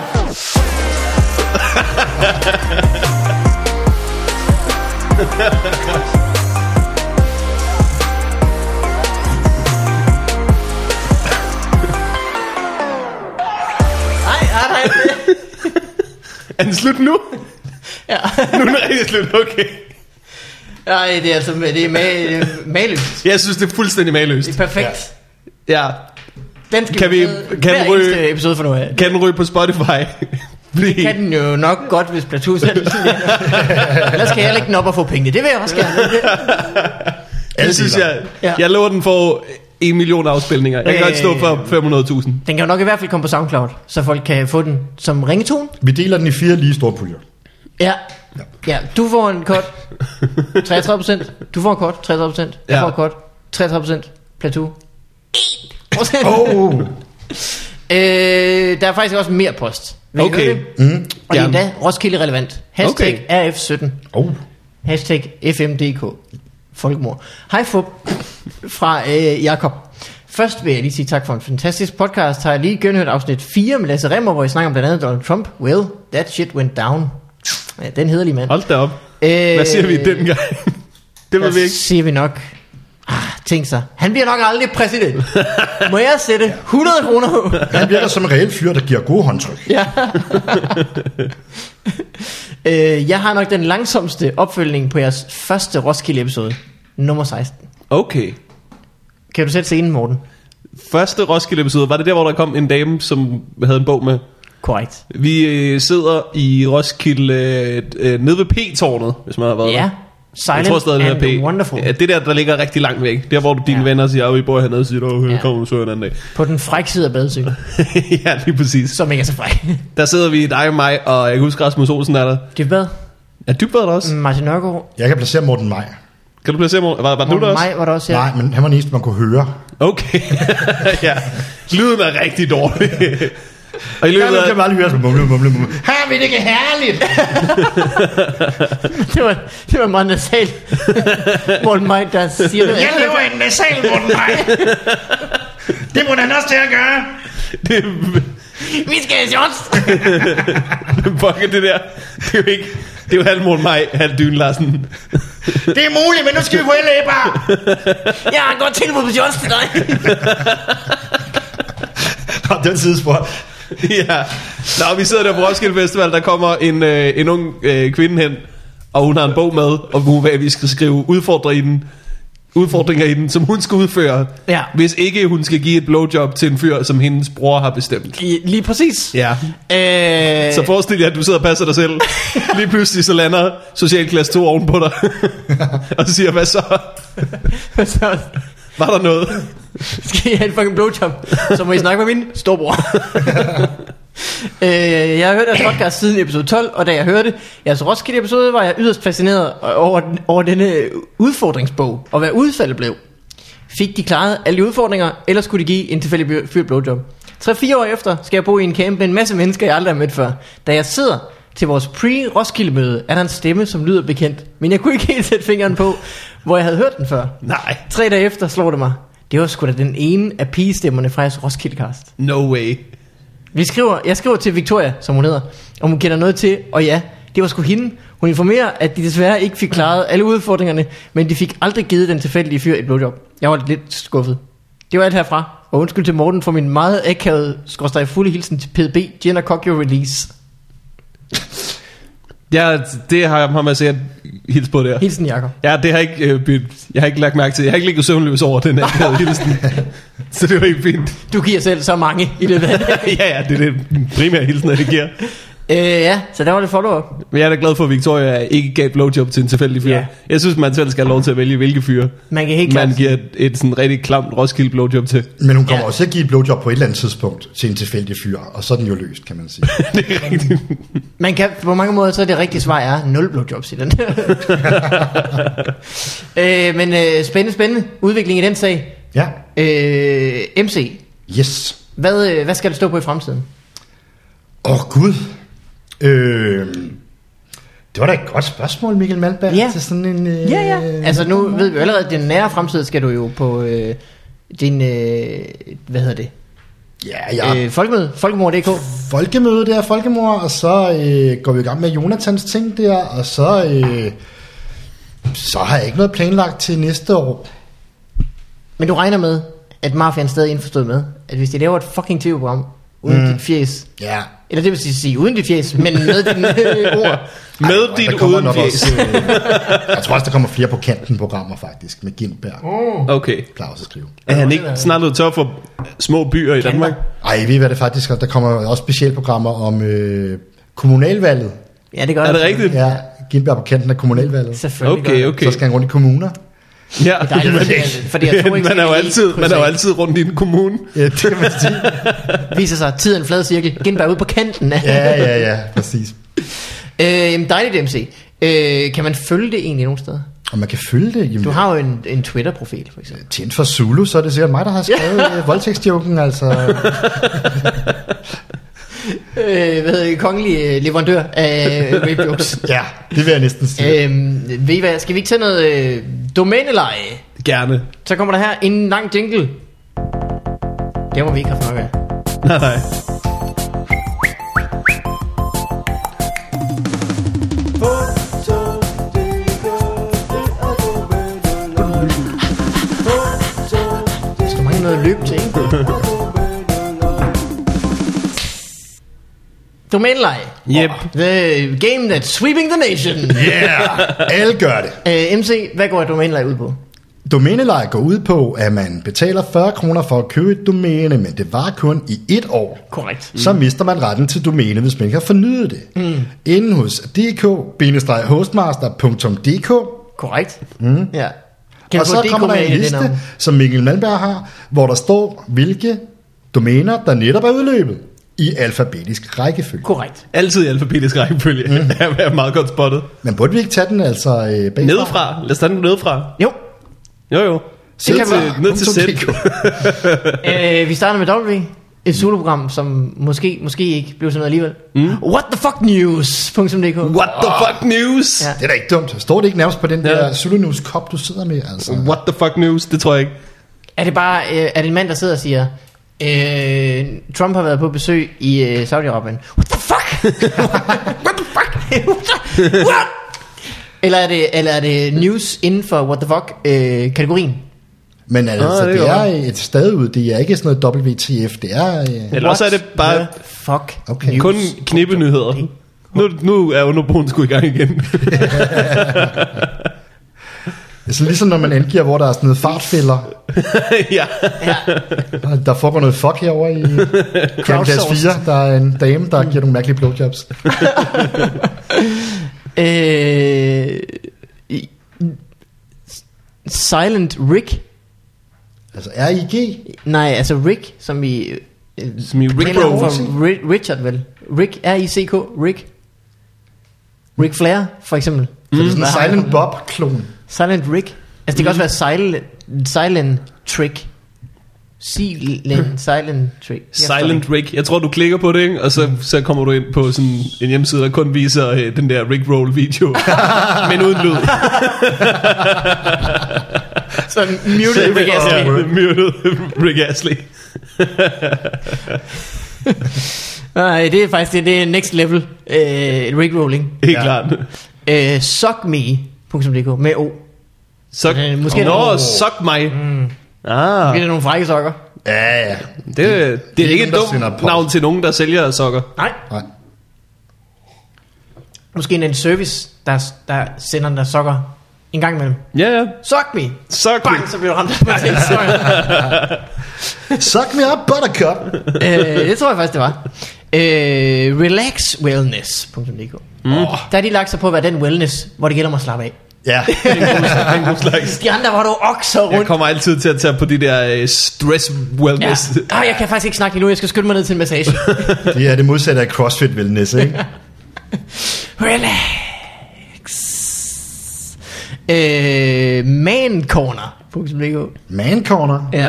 Nej, nej, nej.
Er den slut nu?
Ja.
Nu er den rigtig slut, okay.
Nej, det er altså det er ma- det er maløst.
Jeg synes, det er fuldstændig mageløst.
Det er perfekt.
Ja.
Den skal
Kan vi-
med
kan
hver
vi ryge-
eneste episode for nu af.
Kan den ryge på Spotify? Fordi...
kan den jo nok godt, hvis Plateau selv Ellers skal jeg heller ikke den op og få penge. Det vil jeg også gerne.
Jeg synes, jeg,
Ja.
jeg lover, den får en million afspilninger. Jeg kan
Øh.
godt stå for 500.000.
Den kan jo nok i hvert fald komme på SoundCloud, så folk kan få den som ringetone.
Vi deler den i fire lige store puljer.
Ja. Ja, du får en kort 33%. Du får en kort 33%. Jeg
Ja.
får en kort 33%. Plateau. 1%.
Oh,
Øh, der er faktisk også mere post. Vil I
Okay.
høre det? Mm. Og det er
Gerne.
endda Roskilde relevant. Hashtag okay. RF17.
oh.
Hashtag FMDK. Folkemord. Hej Fup fra øh, Jakob. Først vil jeg lige sige tak for en fantastisk podcast. Har jeg lige genhørt afsnit 4 med Lasse Remmer, hvor I snakker om blandt andet Donald Trump. Well, that shit went down. Ja, den hederlige mand.
Hold da op. Hvad siger
Øh.
vi den gang? det
Hvad
vil vi ikke.
siger vi nok? Ah, tænk sig. Han bliver nok aldrig præsident. Må jeg sætte 100 kroner på?
Han virker som en reel fyr, der giver gode håndtryk.
Ja. øh, jeg har nok den langsomste opfølgning på jeres første Roskilde episode. Nummer 16.
Okay.
Kan du sætte scenen, Morten?
Første Roskilde-episode, var det der, hvor der kom en dame, som havde en bog med?
Korrekt.
Vi øh, sidder i Roskilde, øh, øh, nede ved P-tårnet, hvis man har været
Ja.
der.
Silent
jeg tror stadig, det
and
er P.
Wonderful.
Ja, det der, der ligger rigtig langt væk. Der, hvor dine
Ja.
ja. venner siger, at vi bor hernede, siger du,
Ja.
ja. kommer så en anden dag.
På den frække side af badesøen,
ja, lige præcis.
som ikke er så fræk.
Der sidder vi, dig og mig, og jeg kan huske, Rasmus Olsen er der.
Dybbad,
Er Dybvad der også? Mm.
Martin Nørgaard,
Jeg kan placere Morten Maj.
Kan du placere mig? Var, var du der
Mm. Morten
også?
Maj var der også her.
Ja. Nej, men han var den eneste, man kunne høre.
Okay. ja. Lyden er rigtig dårlig. Og i løbet
Jeg
af,
kan bare lige høre sådan, mumle, mumle, mumle.
Her vi det ikke herligt! det, var, det var meget nasal. Morten Maj, der siger det.
Jeg lever i en nasal, Morten Maj. Det må han også til at gøre.
Vi skal have shots!
Fuck, det der, det er jo ikke, det er jo halv Morten Maj, halv Dyn Larsen.
Det er muligt, men nu skal vi på LA-bar.
Jeg har et godt tilbud på shots til dig.
Nå, den sidespor.
ja. Nå, vi sidder der på Roskilde Festival, der kommer en, øh, en ung øh, kvinde hen, og hun har en bog med, og hun vil, at vi skal skrive udfordre i den, udfordringer i den, som hun skal udføre,
Ja.
hvis ikke hun skal give et blowjob til en fyr, som hendes bror har bestemt.
I- Lige præcis.
Ja.
Øh,
Så forestil jer, at du sidder og passer dig selv. Lige pludselig så lander socialklasse 2 ovenpå dig. og så siger, hvad så?
så
Var der noget?
skal I have en fucking blowjob, så må I snakke med min storbror. øh, jeg har hørt jeres podcast siden episode 12, og da jeg hørte jeres Roskilde episode, var jeg yderst fascineret over, den- over denne udfordringsbog, og hvad udfaldet blev. Fik de klaret alle de udfordringer, eller skulle de give en tilfældig by- fyr et blowjob? 3-4 år efter skal jeg bo i en camp med en masse mennesker, jeg aldrig har mødt før. Da jeg sidder til vores pre-Roskilde-møde, er der en stemme, som lyder bekendt, men jeg kunne ikke helt sætte fingeren på, hvor jeg havde hørt den før.
Nej.
Tre dage efter slår det mig. Det var sgu da den ene af pigestemmerne fra jeres Roskildecast.
No way.
Vi skriver, jeg skriver til Victoria, som hun hedder, om hun kender noget til, og ja, det var sgu hende. Hun informerer, at de desværre ikke fik klaret alle udfordringerne, men de fik aldrig givet den tilfældige fyr et blowjob. Jeg var lidt skuffet. Det var alt herfra, og undskyld til Morten for min meget akavede, skorstræk fulde hilsen til PDB, Gin Cock Your Release.
Ja, det har har man sikkert hils på der.
Hilsen Jakob.
Ja, det har jeg ikke, øh, byt- jeg har ikke lagt mærke til. Jeg har ikke ligget søvnløs over den her hilsen. så det var ikke fint.
Du giver selv så mange i løbet af det.
ja, ja, det er det den primære hilsen, jeg giver.
øh, ja, så der var det follow-up.
Men jeg er da glad for, at Victoria ikke gav blowjob til en tilfældig fyr.
Ja.
Jeg synes, man selv skal have lov til at vælge, hvilke fyre
Man kan helt klart...
man giver et, et sådan rigtig klamt Roskilde blowjob til.
Men hun kommer
Ja.
ja. også til at give et blowjob på et eller andet tidspunkt til en tilfældig fyr, og så er den jo løst, kan man sige.
det er rigtigt.
Man kan, på mange måder, så er det rigtige svar er nul blowjobs i den der. øh, men øh, spændende, spændende udvikling i den sag.
ja,
Øh, MC,
yes.
hvad, øh, hvad skal det stå på i fremtiden?
Åh oh, gud. Øh, det var da et godt spørgsmål, Mikkel Malberg,
Ja.
til sådan en... Øh,
Altså nu ved vi jo allerede, at din nære fremtid skal du jo på øh, din, øh, hvad hedder det?
Ja, ja.
Øh,
Øh,
folkemøde, folkemord.dk.
folkemøde der, folkemor, og så øh, går vi i gang med Jonathans ting der, og så... Øh, så har jeg ikke noget planlagt til næste år.
Men du regner med, at mafiaen stadig er indforstået med, at hvis de laver et fucking tv-program uden mm. dit fjes,
Ja.
eller det vil sige uden dit fjes, men med dine øh, ord,
Med
og der
dit
kommer
uden
nok
fjes.
også, øh, Jeg tror også, der kommer flere på kanten programmer faktisk, med Gindberg, oh.
Okay.
Claus at skrive.
Er han ikke snart blevet tør for små byer i Danmark?
Ej, ved I hvad det faktisk er? Der kommer også specialprogrammer om øh, kommunalvalget.
Ja, det gør
Er det rigtigt?
Ja, Gindberg på kanten af kommunalvalget.
Selvfølgelig gør
Okay,
det.
okay.
Så skal han rundt i kommuner.
Ja.
Dejligt, fordi- fordi jeg tror ikke,
man er jo
det
altid, man er jo altid rundt i en kommune.
Ja, det kan man sige.
Viser sig, tiden er en flad cirkel. Genbær ude på kanten. af.
Ja, ja, ja, præcis.
øh, jamen, dejligt MC. Øh, kan man følge det egentlig nogen steder?
Og man kan følge det. Jamen,
Du har jo en, en Twitter-profil, for eksempel.
Tændt for Zulu, så er det sikkert mig, der har skrevet øh, voldtægtsjoken, altså.
Øh, hvad hedder det? Kongelig øh, leverandør af øh, rape jokes.
Ja, det vil jeg næsten sige.
øh, ved I hvad? Skal vi ikke tage noget øh, domæneleje?
Gerne.
Så kommer der her en lang jingle. Det må vi ikke have haft nok af.
Nej, nej.
Der skal mange noget at løbe til, ikke? Domæneleje.
Yep.
The game that's sweeping the nation.
Yeah, alle gør det.
Øh, MC, hvad går et domæneleje ud på?
Domæneleje går ud på, at man betaler 40 kroner for at købe et domæne, men det var kun i et år.
Korrekt.
Så mister man retten til domæne, hvis man ikke har fornyet det. Mm. Inden hos dk-hostmaster.dk
Korrekt. Mm. Ja.
Kan og
du
så
få DK
kommer der
med i
en
det
liste,
navn?
som Mikkel Malmberg har, hvor der står, hvilke domæner, der netop er udløbet i alfabetisk rækkefølge.
Korrekt.
Altid i alfabetisk rækkefølge. Mm. Det er meget godt spottet.
Men burde vi ikke tage den altså øh, bagfra?
Nedefra. Lad os tage den nedefra.
Jo.
Jo, jo.
Sæt
Ned til,
fra.
ned til
Punktum
sæt.
DK.
øh, vi starter med W. et soloprogram, som måske, måske ikke blev sådan noget alligevel. Mm. What the fuck news.dk
What the fuck news?
Ja.
Ja.
Det er da ikke dumt. Står det ikke nærmest på den der
Ja.
Zulu News kop, du sidder med? Altså?
What the fuck news? Det tror jeg ikke.
Er det bare øh, er det en mand, der sidder og siger, øh, Trump har været på besøg i øh, Saudi-Arabien. What the fuck? what the fuck? What the- what? Eller er, det, eller er det news inden for what the fuck øh, kategorien?
Men altså,
Ah, det
det,
er
det
jo
er et stadud. Det er ikke sådan noget WTF. Det er... Øh,
Eller også er det bare
What the fuck?
Okay.
news?
kun knippenyheder. Nu, nu er underboen sgu i gang igen.
altså, ligesom når man angiver, hvor der er sådan noget fartfælder.
ja.
Og Der foregår noget fuck herovre i Crowdcast 4. Der er en dame, der giver nogle mærkelige blowjobs.
Øh, i- Silent Rick?
Altså R.I.G.
Nej, altså Rick, som i... øh,
Som i Rick
Eller
Bros.
for Ri- Richard vel? Rick, R-I-C-K, Rick. Rick Flair, for eksempel. Mm.
Det er sådan en Silent Bob-klon.
Silent Rick. Altså, det kan
Mm.
også være Silent, silent Trick. Silent, silent Trick. Jeg forstår
Silent
ikke.
Rick. Jeg tror, du klikker på det, ikke? og så,
Mm.
så kommer du ind på sådan en hjemmeside, der kun viser øh, den der Rick Roll video. Men uden lyd.
Sådan muted Rick Astley.
Ja, Muted Rick Astley.
Nej, det er faktisk det, det er next level. Øh, Rick Rolling.
Helt ja. klart.
Øh, Suckme.dk med O.
Suck.
Øh, måske
Måske Nå,
er det-
suck mig. Mm. Ah,
Det er nogle frække sokker.
Ja, ja.
det, det, det er ikke
nogen,
et
der sender
dumt
post.
navn til nogen, der sælger sokker.
Nej.
Nej.
Måske en service, der, der sender en der sokker en gang imellem.
Ja, ja.
Suck me!
Suck
Bang,
me.
så bliver du ramt af en
Suck me up, buttercup.
øh, det tror jeg faktisk, det var. Øh, relaxwellness.dk mm. Der har de lagt sig på at være den wellness, hvor det gælder om at slappe af.
Ja.
De andre, hvor du okser
Jeg
rundt.
kommer altid til at tage på de der øh, stress
Ja.
wellness. Ja.
Oh, jeg kan faktisk ikke snakke endnu, jeg skal skynde mig ned til en massage.
Det er det modsatte af CrossFit Wellness, ikke?
Relax. Øh, mancorner.dk
Man corner.
ja.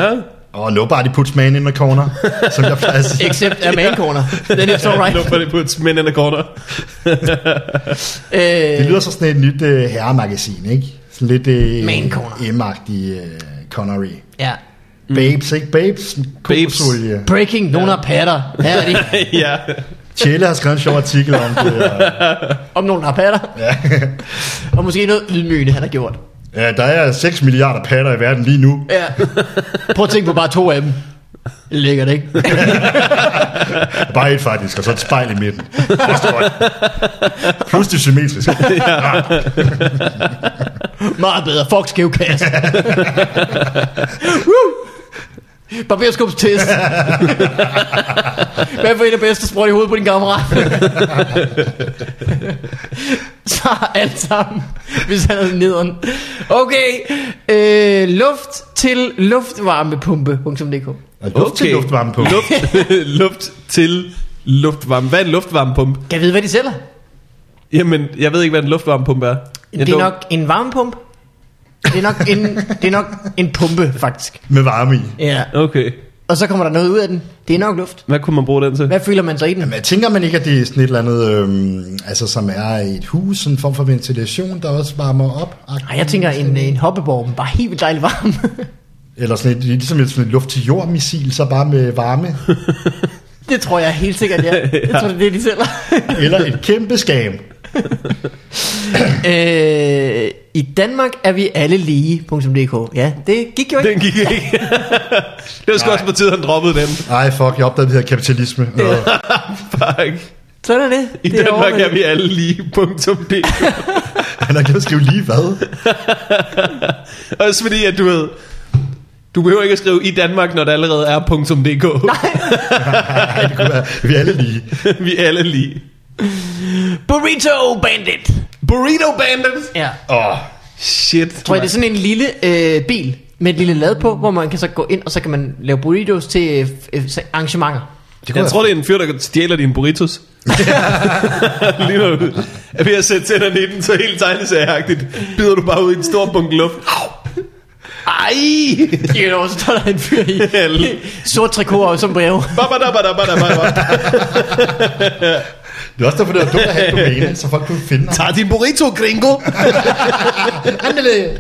Og oh, nobody puts man in the corner, som jeg plejer at sige.
Except a mancorner. Then it's alright.
Nobody puts men in a corner.
Det
Øh,
lyder så sådan et nyt øh, herremagasin, ikke? Sådan lidt øh,
Man corner.
M-agtig øh, Connery.
ja.
Babes, ikke? Babes. Kokosolie.
Breaking, nogen har patter. Her er de.
ja.
Tjelle har skrevet en sjov artikel om det. Og,
Om nogen har patter.
ja.
Og måske noget ydmygende, han har gjort.
ja, der er 6 milliarder patter i verden lige nu.
Ja. Prøv at tænke på bare to af dem. Lækkert, ikke?
Bare et faktisk, og så et spejl i midten. Der står et- Plus det symmetriske.
Meget bedre. Fuck skæv kasse. Woo! Barberskubstest. Hvad for en af bedste sprøjt i hovedet på din kammerat? Så er alt sammen, hvis han havde nederen. Okay, øh, luft til luftvarmepumpe.dk
Og luft til luftvarme på.
Luft, luft til luftvarme. Hvad er en luftvarmepumpe?
Kan jeg vide, hvad de sælger?
Jamen, jeg ved ikke, hvad en luftvarmepumpe er. Jeg
Det er
dum.
nok en varmepumpe. Det er nok en, det er nok en pumpe, faktisk.
Med varme i.
Ja.
Okay.
Og så kommer der noget ud af den. Det er nok luft.
Hvad kunne man bruge den til?
Hvad føler man så i den?
Men jeg tænker man ikke, at det er sådan et eller andet, øhm, altså som er et hus, sådan en form for ventilation, der også varmer op?
Ej, jeg tænker en, en hoppeborg, men bare helt vildt dejligt varm.
Eller sådan et, ligesom et, sådan et luft-til-jord-missil, så bare med varme.
det tror jeg helt sikkert, ja. Jeg tror, det er det, de sælger.
Eller et kæmpe skam.
øh, I Danmark er vi alle lige.dk. Ja, det gik jo ikke.
Den gik ikke. det var sgu også på tide, han droppede den.
Ej, fuck, jeg opdagede det her kapitalisme. Nå,
Fuck.
Sådan er det.
I
det er
Danmark
over med
er vi alle lige. Punktum D.
han har glemt at skrive lige hvad.
også fordi, at du ved... Du behøver ikke at skrive i Danmark, når der allerede er punktum .dk.
Ej, det kunne være, vi er alle lige.
vi er alle lige.
det. Burrito Bandit.
Burrito Bandit.
Ja.
Åh,
Shit.
Tror jeg, det er sådan en lille øh, bil med et lille lad på, hvor man kan så gå ind, og så kan man lave burritos til øh, øh, arrangementer.
det kunne
Jeg tror, det er en fyr, der stjæler dine burritos. Lige når du er ved at sætte tænderne i den, så helt tegnesagagtigt bider du bare ud i en stor bunke luft. Au! Ej!
You know, så står der en fyr i i sort trikot og som breve.
Babadabadabadabada.
Det er også derfor, det var dumt at have et domæne, så folk kunne finde ham.
Tag din burrito, gringo!
Andele!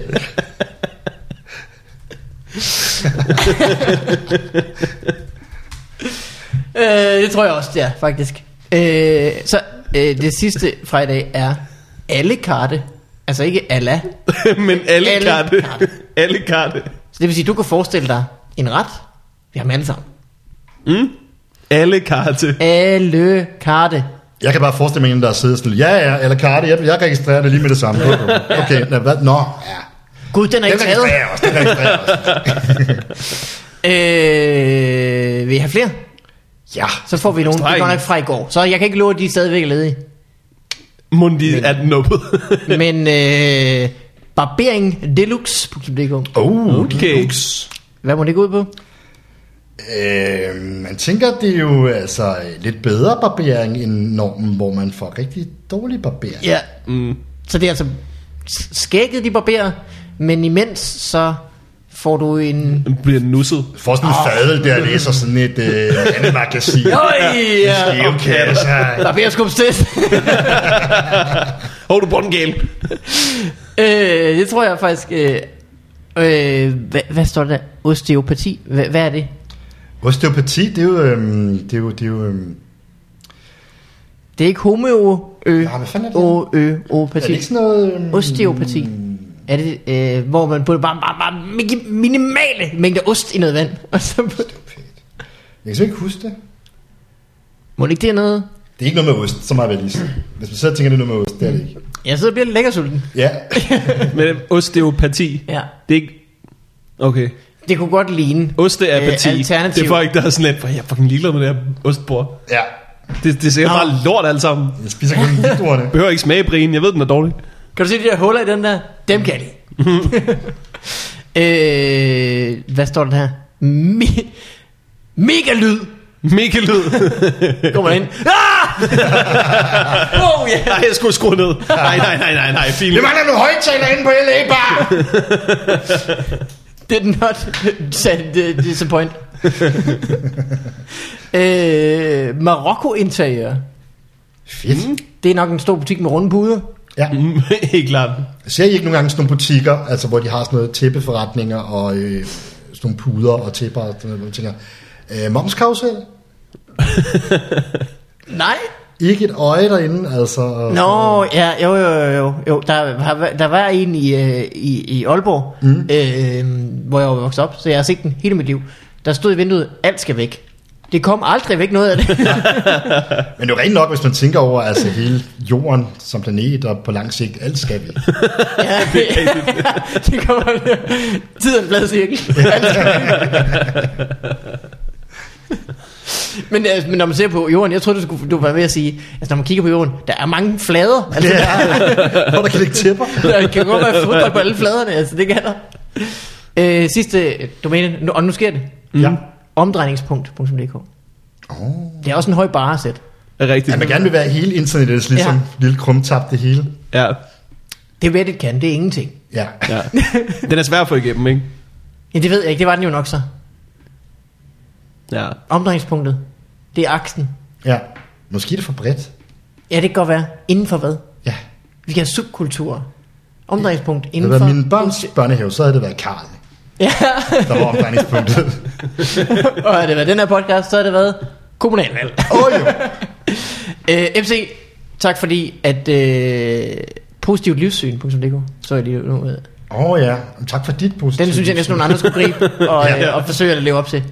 Øh, det tror jeg også, det er, faktisk. Øh, så øh, det sidste fra i dag er alle karte. Altså ikke alla.
Men alle,
Alle
katte.
katte.
alle katte.
Så det vil sige, du kan forestille dig en ret. Vi har dem alle sammen.
Mm? Alle katte.
Alle karte.
Jeg kan bare forestille mig en, der har siddet sådan, ja, ja, eller karte, jeg, jeg registrerer det lige med det samme. Okay, nå, hvad? Nå, ja.
Gud, den er
Den
ikke taget.
registrerer også, den registrerer også.
Øh, vil I have flere?
Ja,
Så får vi nogen. Det
Streg.
er godt nok fra i går. Så jeg kan ikke love, at de er stadigvæk ledige.
Mundi er den nuppet.
Men øh, barbering deluxe.dk
oh,
Okay.
Hvad må det gå ud på?
Øh, man tænker, det er jo altså lidt bedre barbering end normen, hvor man får rigtig dårlig barbering.
Ja.
Mm.
Så det er altså s- skægget, de barberer, men imens så får du en...
Den bliver nusset.
Du får sådan
Ah.
en fadel der, og læser sådan et øh, andet magasin.
Øj, ja.
Det er okay, altså.
Barberskubstest.
Hov, du bondgale.
øh, det tror jeg faktisk... Øh, øh, hvad, hvad står der? Osteopati? Hvad, hvad er det?
Osteopati, det er jo... Øhm, det er jo, det er jo øhm,
Det er ikke homeo... Ø,
Ja, hvad fanden er det?
o, ø,
er det
opati.
ikke sådan noget... Øhm,
Osteopati. Er det, øh, hvor man putter bare, bare, bare migi- minimale mængder ost i noget vand? Og så putter...
Jeg kan simpelthen ikke huske det.
Må det ikke det er noget?
Det er ikke noget med ost, så meget vil jeg lige sige. Hvis man sidder og tænker, det er noget med ost, det er det ikke.
Jeg sidder og bliver lidt lækker sulten.
Ja,
Men osteopati.
Ja.
Det er ikke... Okay.
Det kunne godt ligne.
Osteapati.
Øh, alternativ.
det er folk, der er sådan lidt, "Hvor er jeg er fucking ligeglad med det her ostbord.
ja.
Det, det ser
Nå.
bare lort alt sammen.
Jeg spiser kun vildordene.
Behøver ikke smage brien. Jeg ved, den er dårlig.
Kan du se de der huller i den der? Dem kan jeg lide. øh, hvad står den her? Me- mega lyd.
Mega lyd.
Kommer ind. Ah! oh, yeah.
Nej, jeg skulle skrue ned. Nej, nej, nej, nej, nej. Fint.
Det mangler nogle højtaler inde på LA Bar!
Did not send uh, disappoint. øh, Marokko interiør. Mm.
Fedt.
Det er nok en stor butik med runde puder.
Ja.
Mm, Helt klart.
Ser I ikke nogle gange sådan nogle butikker, altså hvor de har sådan noget tæppeforretninger og øh, sådan nogle puder og tæpper og sådan noget, hvor man tænker, øh, momskarusel?
Nej.
Ikke et øje derinde, altså. og-
Nå, ja, jo, jo, jo, jo, jo. Der, har- der var en i, øh, i, i Aalborg, mm. øh, hvor jeg var vokset op, så jeg har set den hele mit liv. Der stod i vinduet, alt skal væk. Det kom aldrig væk noget af det.
Men det er jo rent nok, hvis man tænker over altså, hele jorden som planet, og på lang sigt, alt skal vi.
ja, det kommer tiden blad cirkel. Alt skal væk. Men, altså, men når man ser på jorden, jeg tror du skulle du var ved at sige, altså når man kigger på jorden, der er mange flader. Altså,
Ja, hvor der kan ligge tæpper.
Der kan godt være fodbold på alle fladerne, altså det kan der. Øh, sidste domæne, nu, og nu sker det.
Mhm. Ja.
Omdrejningspunkt.dk
Oh.
Det er også en høj barresæt.
Er rigtigt.
At man gerne vil være hele internettets ligesom
Ja.
ja. lille krumtap det hele.
Ja.
Det Reddit kan, det er ingenting.
Ja.
ja. Den er svær at få igennem, ikke?
Ja, det ved jeg ikke, det var den jo nok så.
Ja.
Omdrejningspunktet, det er aksen.
ja. Måske er det for bredt.
Ja, det kan godt være. Inden for hvad?
Ja.
Vi kan have subkulturer. Omdrejningspunkt
Det
inden
havde
for...
været min børns børnehave, så havde det været Karl,
Ja,
der var omdrejningspunktet.
og har det været den her podcast, så har det været kommunalvalg.
Åh oh, jo.
Øh, MC, tak fordi at... Øh, positivtlivssyn.dk så jeg lige nu ud.
Åh oh, ja. Jamen, Tak for dit positive.
Den synes jeg næsten, nogle andre skulle gribe og,
Ja.
øh, og forsøge at leve op til.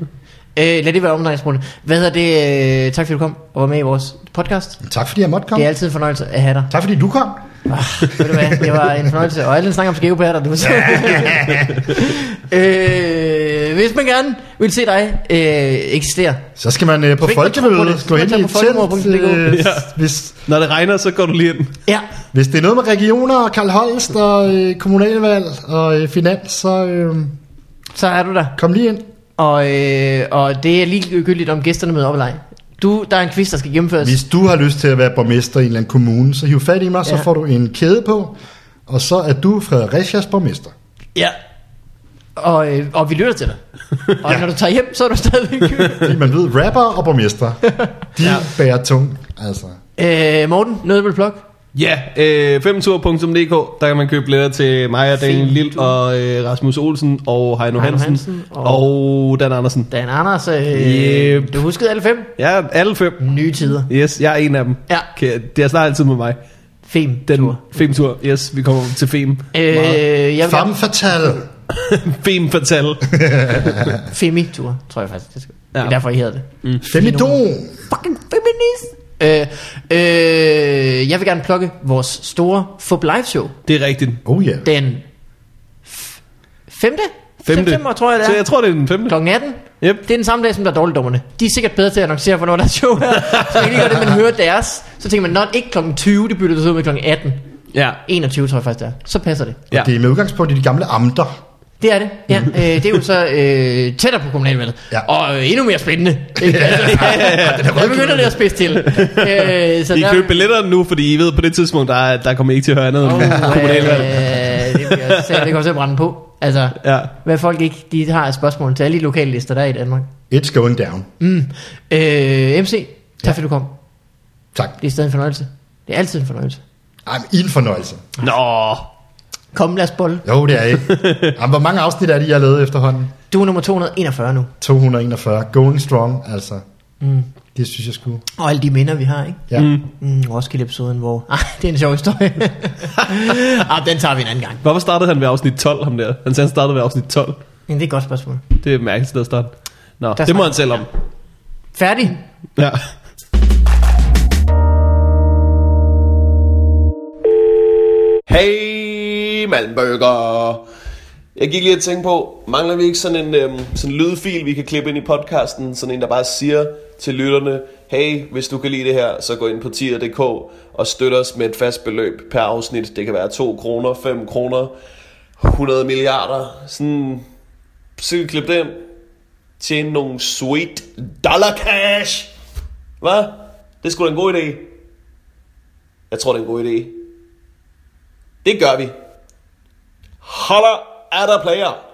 Øh, lad det være omdrejningspunktet. Hvad hedder det? Øh, tak fordi du kom og var med i vores podcast.
Tak fordi jeg måtte komme.
Det er altid en fornøjelse at have dig. Ah,
Tak fordi du kom.
Ved du hvad? Det var en fornøjelse. Og alle snakker om skævepærter. Det var så... øh, hvis man gerne vil se dig øh, eksistere,
Så skal man øh, på
Hvis man tror på det,
folkemødet
så
gå
kan
ind
man
i et
tage på
telt.
folkemødet.dk.
øh,
Ja.
Hvis,
Når det regner, så går du lige ind.
ja,
hvis det er noget med regioner og Karl Holst og øh, kommunalvalg og øh, finans, så øh,
så er du der.
kom lige ind.
Og, øh, og det er ligegyldigt, om gæsterne møder op eller ej. Du, der er en quiz, der skal gennemføres.
Hvis du har lyst til at være borgmester i en eller anden kommune, så hiv fat i mig, så
Ja.
får du en kæde på, og så er du Fredericias borgmester.
Ja. og, øh, og vi lytter til dig. Og ja. når du tager hjem, så er du stadigvæk
Fordi man ved, rapper og borgmester, de ja. bærer tung. Altså.
øh, Morten, noget du vil plukke?
Ja, øh, femtur.dk, der kan man købe billetter til mig og Daniel Lille og øh, Rasmus Olsen og Heino
Heino
Hansen,
Hansen og-
og, Dan Andersen.
Dan Anders, øh,
Yep.
du huskede alle fem?
Ja, alle fem.
Nye tider.
Yes, jeg er en af dem.
Ja.
Okay, det er snart altid med mig.
Fem.
Den
tur.
femtur, yes, vi kommer til fem.
Øh, jeg vil
Femme
gerne,
fatale.
Fem fortal.
Femi-tur, tror jeg faktisk. Det, skal.
Ja.
det er derfor, I hedder det.
Femidon.
fucking feminist. Øh, øh, jeg vil gerne plukke vores store Fub Live Show.
Det er rigtigt.
Oh yeah.
Den f- femte? september, tror jeg det
Så
er.
jeg tror, det er den femte.
Klokken 18.
Yep.
Det er den samme dag, som der er dårligdommerne. De er sikkert bedre til at annoncere, hvornår der er show her. Så ikke gør det, man hører deres. Så tænker man, når ikke klokken 20, det bytter det så ud med klokken 18.
Ja.
21 tror jeg faktisk det er. Så passer det.
Ja.
Det er med udgangspunkt i de gamle amter.
Det er det, ja. Øh, det er jo så øh, tættere på kommunalvalget.
Ja.
Ja. Og øh, endnu mere spændende. Ikke? Altså, Der begynder det at spidse til. Øh, så
I
der-
køber billetterne nu, fordi I ved, på det tidspunkt, der, der kommer I ikke til at høre andet end
Åh,
kommunalvalg.
øh, det bliver sat- det kommer til at brænde på. Altså,
Ja.
hvad folk ikke de har af spørgsmål til alle de lokale lister, der er i Danmark.
It's going down.
Mm. Øh, MC, tak ja. fordi du kom.
Tak.
Det er stadig en fornøjelse. Det er altid en fornøjelse.
Ej, men I er en fornøjelse.
Nå,
Kom, lad os bolle.
Jo, det er I. Jamen, hvor mange afsnit er det, I har lavet efterhånden?
Du er nummer 241 nu.
241. Going strong, altså.
Mm.
Det synes jeg skulle.
Og alle de minder, vi har, ikke?
Ja. Mm.
Mm, Roskilde-episoden, hvor... Ah, det er en sjov historie. ah, den tager vi en anden gang.
hvorfor startede han ved afsnit 12, ham der? Han sagde, han startede ved afsnit 12.
Men det er et godt spørgsmål.
Det er et mærkeligt sted at starte. Nå,
Der
det må
snakker-
han selv om.
Færdig.
Ja. Hey, Malmbøger. Jeg gik lige og tænkte på, mangler vi ikke sådan en øhm, sådan en lydfil, vi kan klippe ind i podcasten? Sådan en, der bare siger til lytterne, hey, hvis du kan lide det her, så gå ind på tier.dk og støt os med et fast beløb per afsnit. Det kan være 2 kroner, 5 kroner, 100 milliarder. Sådan, så kan vi klippe det ind. Tjene nogle sweet dollar cash. Hvad? Det er sgu da en god idé. Jeg tror, det er en god idé. Det gør vi. Holler er der player.